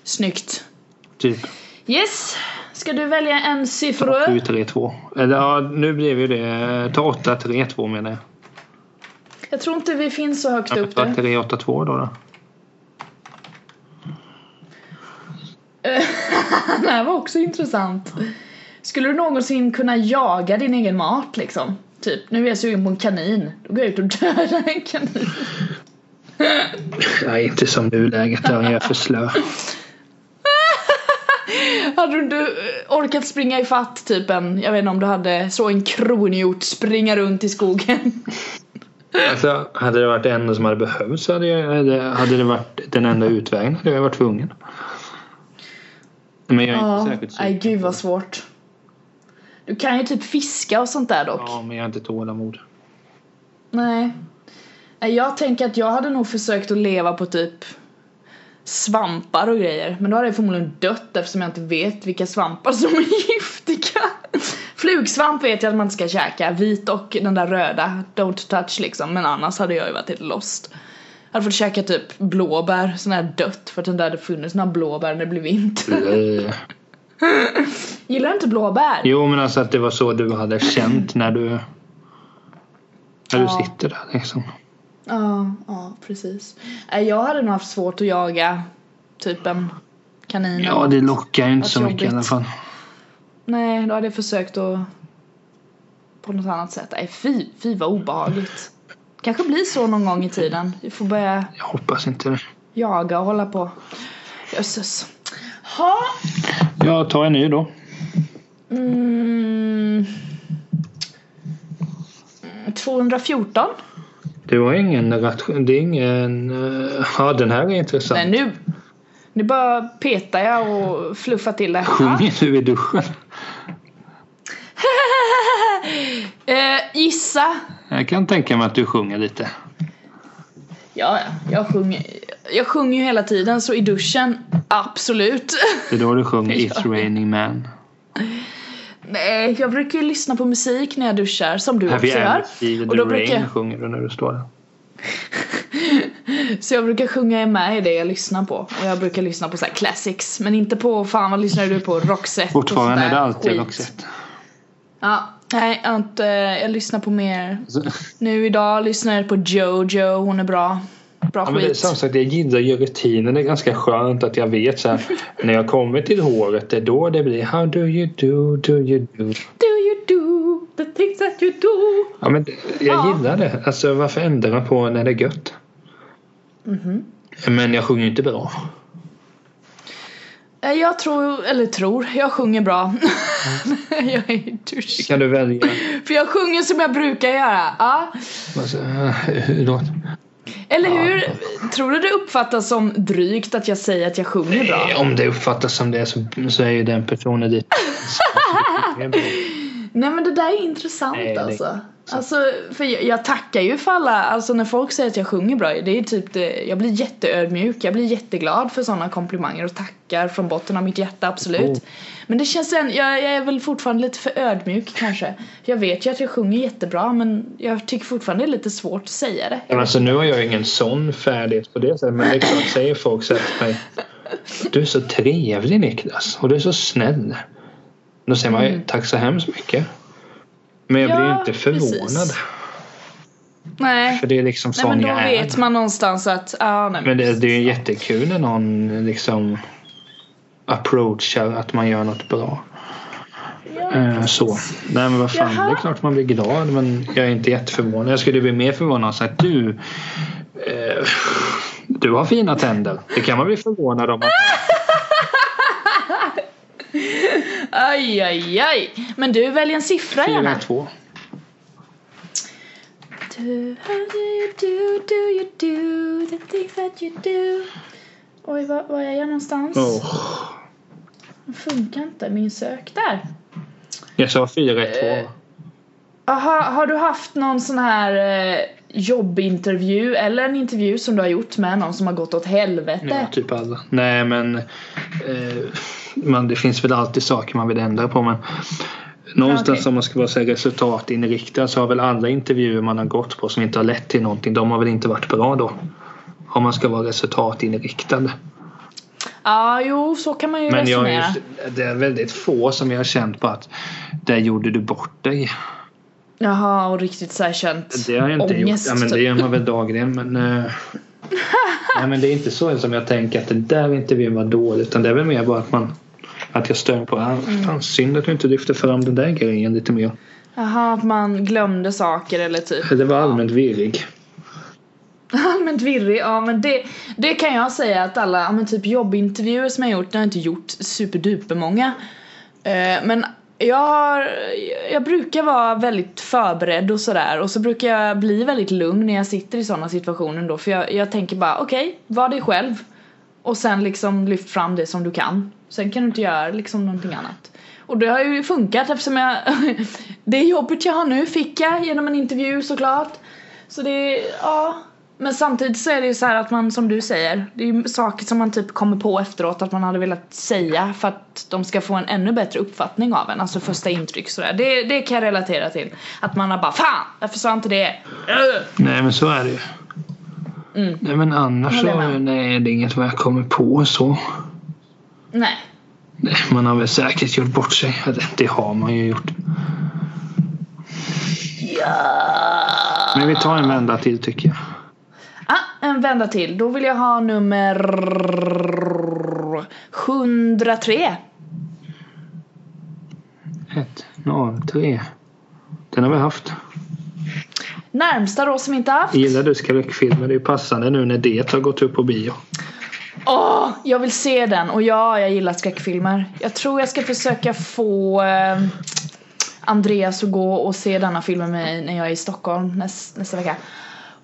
[SPEAKER 2] snyggt.
[SPEAKER 1] Typ
[SPEAKER 2] Yes, ska du välja en siffra?
[SPEAKER 1] 7-3-2. Eller ja, nu blev ju det. eh, Ta 8-3-2 menar jag.
[SPEAKER 2] Jag tror inte vi finns så högt upp
[SPEAKER 1] Ta
[SPEAKER 2] nu.
[SPEAKER 1] 3-8-2 då. då.
[SPEAKER 2] Det här var också intressant. Skulle du någonsin kunna jaga din egen mat liksom? Typ, nu är jag sugen på en kanin. Då går jag ut och dödar en kanin.
[SPEAKER 1] Nej, inte som nuläget. där Jag är för slö.
[SPEAKER 2] Hade du inte eh, orkat springa i fatt typ en, jag vet inte om du hade så en kronhjort springa runt i skogen?
[SPEAKER 1] Alltså, hade det varit det enda som hade behövts så hade, jag, hade, hade det varit den enda utvägen hade jag varit tvungen. Men jag är inte särskilt
[SPEAKER 2] nej
[SPEAKER 1] sugen.
[SPEAKER 2] gud vad svårt. Du kan ju typ fiska och sånt där dock.
[SPEAKER 1] Ja, men jag har inte tålamod.
[SPEAKER 2] Nej. Nej, Jag tänker att jag hade nog försökt att leva på typ svampar och grejer. Men då hade jag förmodligen dött eftersom jag inte vet vilka svampar som är giftiga. Flugsvamp vet jag att man inte ska käka. Vit och den där röda, don't touch liksom. Men annars hade jag ju varit helt lost. Jag hade fått käka typ blåbär, sån här dött för att den där hade funnits några blåbär när det blev vinter.
[SPEAKER 1] Eh,
[SPEAKER 2] Gillar du inte blåbär?
[SPEAKER 1] Jo, men alltså att det var så du hade känt när du... När du
[SPEAKER 2] Ja.
[SPEAKER 1] sitter där liksom.
[SPEAKER 2] Ja, ja precis. Nej, Jag hade nog haft svårt att jaga typ en kanin.
[SPEAKER 1] Ja, det lockar ju inte
[SPEAKER 2] Vad
[SPEAKER 1] så mycket i alla
[SPEAKER 2] jobbigt.
[SPEAKER 1] fall.
[SPEAKER 2] Nej, då hade jag försökt att på något annat sätt. Nej, fy, fy vad obehagligt. Kanske blir så någon gång i tiden. Vi får börja
[SPEAKER 1] Jag hoppas inte det.
[SPEAKER 2] jaga och hålla på. Jösses. Ha.
[SPEAKER 1] Jag tar en ny då.
[SPEAKER 2] Mm. Mm, 214.
[SPEAKER 1] Det var ingen ration... Det är ingen... eh, Ja, den här är intressant.
[SPEAKER 2] Nej, nu. Nu bara petar jag och fluffar till det. Ja.
[SPEAKER 1] Sjunger du i duschen?
[SPEAKER 2] Eh, gissa.
[SPEAKER 1] Jag kan tänka mig att du sjunger lite.
[SPEAKER 2] Ja, ja. jag sjunger. Jag sjunger ju hela tiden så i duschen, absolut.
[SPEAKER 1] Det är då du sjunger
[SPEAKER 2] Ja.
[SPEAKER 1] It's raining man.
[SPEAKER 2] Nej, jag brukar ju lyssna på musik när jag duschar som du också
[SPEAKER 1] Heavy
[SPEAKER 2] gör.
[SPEAKER 1] Alex i The
[SPEAKER 2] Och då
[SPEAKER 1] Rain
[SPEAKER 2] brukar,
[SPEAKER 1] sjunger du när du står där.
[SPEAKER 2] så jag brukar sjunga med i det jag lyssnar på. Och jag brukar lyssna på så här classics. Men inte på, fan vad lyssnar du på? Roxette
[SPEAKER 1] Fortfarande
[SPEAKER 2] och
[SPEAKER 1] är
[SPEAKER 2] sånt
[SPEAKER 1] det alltid
[SPEAKER 2] där skit.
[SPEAKER 1] Roxette.
[SPEAKER 2] Ja, nej jag, har inte, jag lyssnar på mer. Nu idag lyssnar jag på Jojo, hon är bra. Bra
[SPEAKER 1] Ja, men det,
[SPEAKER 2] skit.
[SPEAKER 1] som sagt, jag gillar ju rutinen. Det är ganska skönt att jag vet så här, när jag kommer till håret, det är då det blir How do you do, do you do.
[SPEAKER 2] Do you do the things that you do?
[SPEAKER 1] Ja, men det- jag
[SPEAKER 2] Ja.
[SPEAKER 1] gillar det. Alltså varför ändrar man på när det är
[SPEAKER 2] Mhm.
[SPEAKER 1] gött? Men jag sjunger ju inte bra.
[SPEAKER 2] Eh, Jag tror, eller tror, jag sjunger bra. jag är dusch.
[SPEAKER 1] Kan du välja?
[SPEAKER 2] För jag sjunger som jag brukar göra. Ja.
[SPEAKER 1] Vad så- hur låter-
[SPEAKER 2] Eller
[SPEAKER 1] Ja.
[SPEAKER 2] hur? Tror du det uppfattas som drygt att jag säger att jag sjunger bra?
[SPEAKER 1] Om det uppfattas som det så, så är ju den personen dit.
[SPEAKER 2] Nej men det där är intressant
[SPEAKER 1] Nej, det är
[SPEAKER 2] alltså. Alltså, för jag, jag tackar ju för alla, alltså när folk säger att jag sjunger bra, det är typ det, jag blir jätteödmjuk, jag blir jätteglad för sådana komplimanger och tackar från botten av mitt hjärta, absolut.
[SPEAKER 1] Mm.
[SPEAKER 2] Men det känns en, jag, jag är väl fortfarande lite för ödmjuk kanske. Jag vet ju att jag sjunger jättebra men jag tycker fortfarande det är lite svårt att säga det.
[SPEAKER 1] Men Alltså nu har jag ingen sån färdighet på det sättet. Men det är klart, säger folk så här till mig. Du är så trevlig Niklas och du är så snäll. Då säger man ju tack så hemskt mycket. Men jag blir ju
[SPEAKER 2] Mm. Ja,
[SPEAKER 1] inte förvånad.
[SPEAKER 2] precis. Nej.
[SPEAKER 1] För det är liksom
[SPEAKER 2] Nej
[SPEAKER 1] sån
[SPEAKER 2] men då
[SPEAKER 1] jag är.
[SPEAKER 2] vet man någonstans att, ja nej
[SPEAKER 1] Men det, det är ju jättekul när någon liksom approachar att man gör något bra.
[SPEAKER 2] Ja.
[SPEAKER 1] Eh, så. Nej men vad fan,
[SPEAKER 2] Jaha.
[SPEAKER 1] det är klart man blir glad men jag är inte jätteförvånad. Jag skulle bli mer förvånad och säga att du eh, du har fina tänder. Det kan man bli förvånad om. Att,
[SPEAKER 2] Aj, aj, aj. Men du, välj en siffra gärna.
[SPEAKER 1] 4-2.
[SPEAKER 2] Do, how do you do, do you do the things that you do Oj, var, var är jag någonstans?
[SPEAKER 1] Åh,
[SPEAKER 2] Den funkar inte, min sök. Där!
[SPEAKER 1] Jag sa
[SPEAKER 2] Eh,
[SPEAKER 1] 4-2.
[SPEAKER 2] Aha, har du haft någon sån här eh, jobbintervju eller en intervju som du har gjort med någon som har gått åt
[SPEAKER 1] Ja,
[SPEAKER 2] helvete?
[SPEAKER 1] typ alla. Nej men eh, man, det finns väl alltid saker man vill ändra på men någonstans
[SPEAKER 2] Ja, okej.
[SPEAKER 1] om man ska vara så här resultatinriktad så har väl alla intervjuer man har gått på som inte har lett till någonting de har väl inte varit bra då. Om man ska vara resultatinriktad.
[SPEAKER 2] Ja, jo, så kan man ju
[SPEAKER 1] Men jag,
[SPEAKER 2] resonera.
[SPEAKER 1] är ju- det är väldigt få som jag har känt på att där gjorde du bort dig.
[SPEAKER 2] Jaha, och riktigt så här känt
[SPEAKER 1] Det har jag inte
[SPEAKER 2] ångest.
[SPEAKER 1] gjort. Ja, men det
[SPEAKER 2] typ.
[SPEAKER 1] gör man väl dagligen. Men, eh, nej, men det är inte så som jag tänker att den där intervjun var dålig. Utan det är väl mer bara att man att jag stör på ah,
[SPEAKER 2] Mm.
[SPEAKER 1] fan, synd att du inte lyfter fram den där grejen lite mer.
[SPEAKER 2] Jaha, att man glömde saker eller typ.
[SPEAKER 1] Det var allmänt virrig.
[SPEAKER 2] Allmänt virrig, ja men det, det kan jag säga att alla ja, men typ jobbintervjuer som jag gjort, jag har inte gjort superdupermånga. Eh, men jag, har, jag brukar vara väldigt förberedd och sådär och så brukar jag bli väldigt lugn när jag sitter i sådana situationer då för jag, jag tänker bara okej, var dig själv och sen liksom lyft fram det som du kan. Sen kan du inte göra liksom någonting annat. Och det har ju funkat eftersom jag Det jobbet jag har nu fick jag genom en intervju såklart. Så det, ja. Men samtidigt så är det ju så här att man som du säger, det är ju saker som man typ kommer på efteråt att man hade velat säga för att de ska få en ännu bättre uppfattning av en, alltså första intryck sådär. Det, det kan jag relatera till. Att man har bara fan, varför sa jag inte det? Ugh.
[SPEAKER 1] Nej men så är det ju.
[SPEAKER 2] Mm.
[SPEAKER 1] Nej men annars
[SPEAKER 2] Håller
[SPEAKER 1] så
[SPEAKER 2] jag med.
[SPEAKER 1] nej, det är inget vad jag kommer på så.
[SPEAKER 2] Nej.
[SPEAKER 1] Nej, man har väl säkert gjort bort sig. Eller, Det har man ju gjort.
[SPEAKER 2] Ja.
[SPEAKER 1] Men vi tar en vända till tycker jag.
[SPEAKER 2] Ah, en vända till. Då vill jag ha nummer 103.
[SPEAKER 1] Ett, noll, tre. Den har vi haft.
[SPEAKER 2] Närmsta då som inte haft.
[SPEAKER 1] Gillar du skräckfilmer? Det är ju passande nu när det har gått upp på bio.
[SPEAKER 2] Åh, jag vill se den och ja, jag gillar skräckfilmer. Jag tror jag ska försöka få eh, Andreas att gå och se denna film med mig när jag är i Stockholm näs, nästa vecka.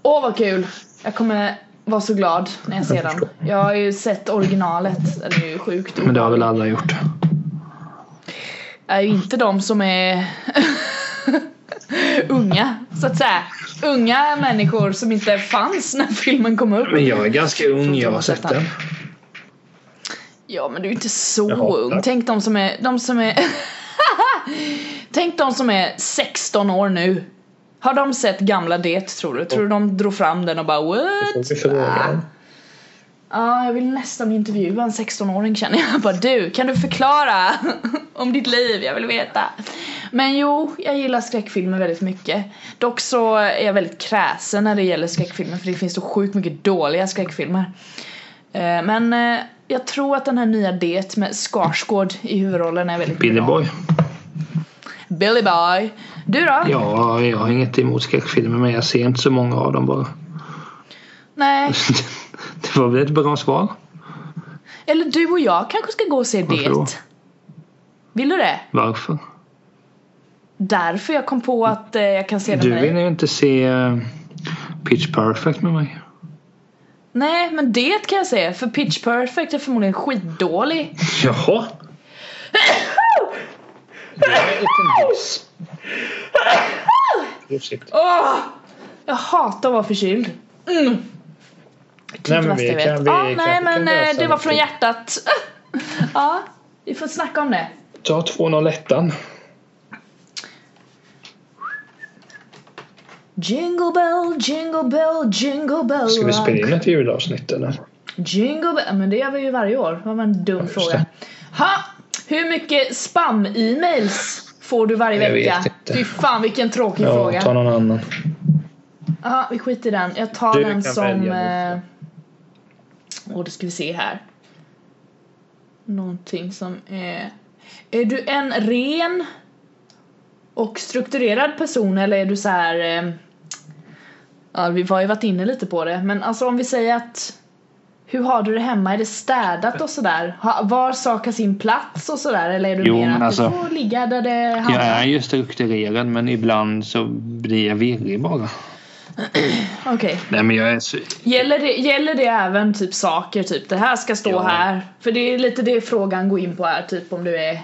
[SPEAKER 2] Åh, vad kul! Jag kommer vara så glad när jag ser den. Jag har ju sett originalet, den är ju sjukt.
[SPEAKER 1] Men det har väl alla gjort.
[SPEAKER 2] Jag är ju inte de som är unga, så att säga. Unga människor som inte fanns när filmen kom upp.
[SPEAKER 1] Men jag är ganska ung, jag har sett den.
[SPEAKER 2] Ja men du är inte så
[SPEAKER 1] Jaha,
[SPEAKER 2] ung.
[SPEAKER 1] tack.
[SPEAKER 2] Tänk de som är, de som är Tänk de som är 16 år nu. Har de sett gamla det tror du? Tror du de drog fram den och bara what?
[SPEAKER 1] Får vi fråga den?
[SPEAKER 2] Ja, jag vill nästan intervjua en 16-åring känner jag. Bara du, kan du förklara om ditt liv? Jag vill veta. Men jo, jag gillar skräckfilmer väldigt mycket. Dock så är jag väldigt kräsen när det gäller skräckfilmer för det finns så sjukt mycket dåliga skräckfilmer. Eh, Men eh, jag tror att den här nya Det med Skarsgård i huvudrollen är väldigt
[SPEAKER 1] Billy
[SPEAKER 2] bra.
[SPEAKER 1] Boy?
[SPEAKER 2] Billy Boy. Du då?
[SPEAKER 1] Ja, jag har inget emot skräckfilmer men jag ser inte så många av dem bara.
[SPEAKER 2] Nej.
[SPEAKER 1] Det var väl ett bra svar?
[SPEAKER 2] Eller du och jag kanske ska gå och se
[SPEAKER 1] Varför
[SPEAKER 2] det.
[SPEAKER 1] då?
[SPEAKER 2] Vill du det?
[SPEAKER 1] Varför?
[SPEAKER 2] Därför jag kom på att eh, jag kan se det
[SPEAKER 1] Du
[SPEAKER 2] med
[SPEAKER 1] vill
[SPEAKER 2] dig.
[SPEAKER 1] ju inte se eh, Pitch Perfect med mig.
[SPEAKER 2] Nej, men det kan jag säga. För Pitch Perfect är förmodligen skitdålig.
[SPEAKER 1] Jaha? Det är inte nice. Ursäkta.
[SPEAKER 2] Åh! Jag hatar att vara förkyld. Mm.
[SPEAKER 1] Nej, men
[SPEAKER 2] Värsta
[SPEAKER 1] vi
[SPEAKER 2] jag vet.
[SPEAKER 1] kan- vi
[SPEAKER 2] ja,
[SPEAKER 1] kanske
[SPEAKER 2] nej,
[SPEAKER 1] kan
[SPEAKER 2] men eh,
[SPEAKER 1] lösa
[SPEAKER 2] det var
[SPEAKER 1] något.
[SPEAKER 2] från hjärtat. ja, vi får snacka om det.
[SPEAKER 1] Ta 201
[SPEAKER 2] Jingle bell, jingle bell, jingle bell
[SPEAKER 1] Ska vi
[SPEAKER 2] rock.
[SPEAKER 1] spela in ett julavsnitt eller?
[SPEAKER 2] Jingle bell, men det gör vi ju varje år. Det var en dum
[SPEAKER 1] just
[SPEAKER 2] fråga. Ha, hur mycket spam-e-mails får du varje
[SPEAKER 1] Jag vet
[SPEAKER 2] vecka?
[SPEAKER 1] inte.
[SPEAKER 2] Fy fan vilken tråkig
[SPEAKER 1] Ja,
[SPEAKER 2] fråga.
[SPEAKER 1] ta någon annan.
[SPEAKER 2] Ja, vi skiter i den. Jag tar
[SPEAKER 1] Du
[SPEAKER 2] den
[SPEAKER 1] kan
[SPEAKER 2] som...
[SPEAKER 1] välja
[SPEAKER 2] eh, Åh, då ska vi se här. Någonting som är... Är du en ren och strukturerad person eller är du så här... eh, Ja, vi har ju varit inne lite på det, men alltså om vi säger att... Hur har du det hemma? Är det städat och sådär? Ha- Var sak har sin plats och sådär? Eller är du
[SPEAKER 1] Jo,
[SPEAKER 2] mer
[SPEAKER 1] men
[SPEAKER 2] att
[SPEAKER 1] alltså-
[SPEAKER 2] du får ligga där det
[SPEAKER 1] Jag
[SPEAKER 2] hamnar?
[SPEAKER 1] är ju strukturerad men ibland så blir jag virrig bara.
[SPEAKER 2] Okej.
[SPEAKER 1] Nej men jag är så...
[SPEAKER 2] Gäller det, gäller det även typ saker, typ det här ska stå
[SPEAKER 1] Ja.
[SPEAKER 2] här? För det är lite det frågan går in på här, typ om du är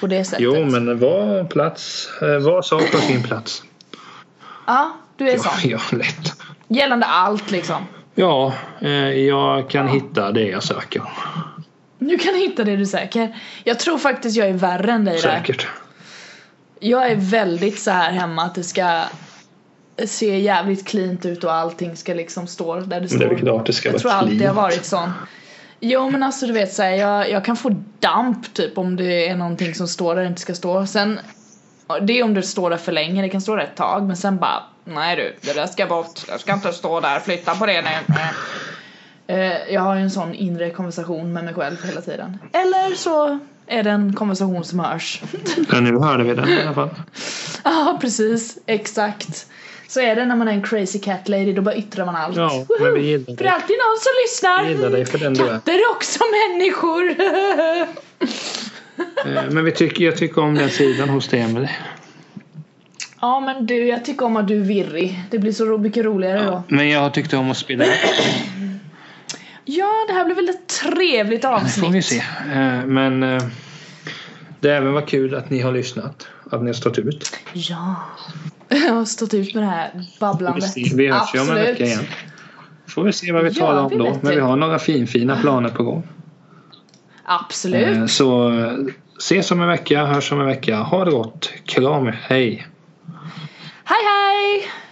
[SPEAKER 2] på det sättet.
[SPEAKER 1] Jo men var plats, eh, var sak på sin plats.
[SPEAKER 2] Ja, du är
[SPEAKER 1] Ja,
[SPEAKER 2] sån.
[SPEAKER 1] ja, lätt.
[SPEAKER 2] Gällande allt liksom.
[SPEAKER 1] Ja, eh, jag kan hitta det jag söker.
[SPEAKER 2] Nu kan du hitta det du söker. Jag tror faktiskt jag är värre än dig där.
[SPEAKER 1] Säkert.
[SPEAKER 2] Jag är väldigt så här hemma att det ska se jävligt cleant ut och allting ska liksom stå där det
[SPEAKER 1] Men
[SPEAKER 2] står.
[SPEAKER 1] det är väl klart det ska
[SPEAKER 2] Jag tror
[SPEAKER 1] vara
[SPEAKER 2] alltid jag
[SPEAKER 1] clean.
[SPEAKER 2] har varit sån. Jo men alltså du vet såhär, jag, jag kan få damp typ om det är någonting som står där det inte ska stå. Sen, det är om det står där för länge, det kan stå där ett tag men sen bara Nej du, det där ska bort, jag ska inte stå där, flytta på det nu. Eh, Jag har ju en sån inre konversation med mig själv hela tiden. Eller så är det en konversation som hörs.
[SPEAKER 1] Ja, nu hörde vi den i alla fall.
[SPEAKER 2] Ja precis, exakt. Så är det när man är en crazy cat lady, då bara yttrar man allt.
[SPEAKER 1] Ja, men vi gillar
[SPEAKER 2] För det är
[SPEAKER 1] dig.
[SPEAKER 2] alltid någon som lyssnar.
[SPEAKER 1] Vi gillar dig för den du är.
[SPEAKER 2] Katter är också människor.
[SPEAKER 1] Eh, Men vi tycker, jag tycker om den sidan hos dig Emelie.
[SPEAKER 2] ja men du, jag tycker om att du är virrig. Det blir så ro- mycket roligare då.
[SPEAKER 1] Men jag tyckte om att spela
[SPEAKER 2] Ja, det här blir väl ett trevligt avsnitt.
[SPEAKER 1] får vi se. Eh, Men eh, det även var kul att ni har lyssnat. Att ni har stått ut.
[SPEAKER 2] Ja. Jag har stått ut med det här babblandet.
[SPEAKER 1] Vi hörs ju om en
[SPEAKER 2] Absolut.
[SPEAKER 1] vecka igen. Får vi se vad vi
[SPEAKER 2] Ja,
[SPEAKER 1] talar
[SPEAKER 2] vi
[SPEAKER 1] om då.
[SPEAKER 2] vet
[SPEAKER 1] Men vi
[SPEAKER 2] ju.
[SPEAKER 1] har några finfina planer på gång.
[SPEAKER 2] Absolut.
[SPEAKER 1] Eh, Så eh, ses om en vecka, hörs om en vecka. Ha det gott. Kram, hej.
[SPEAKER 2] Hej hej!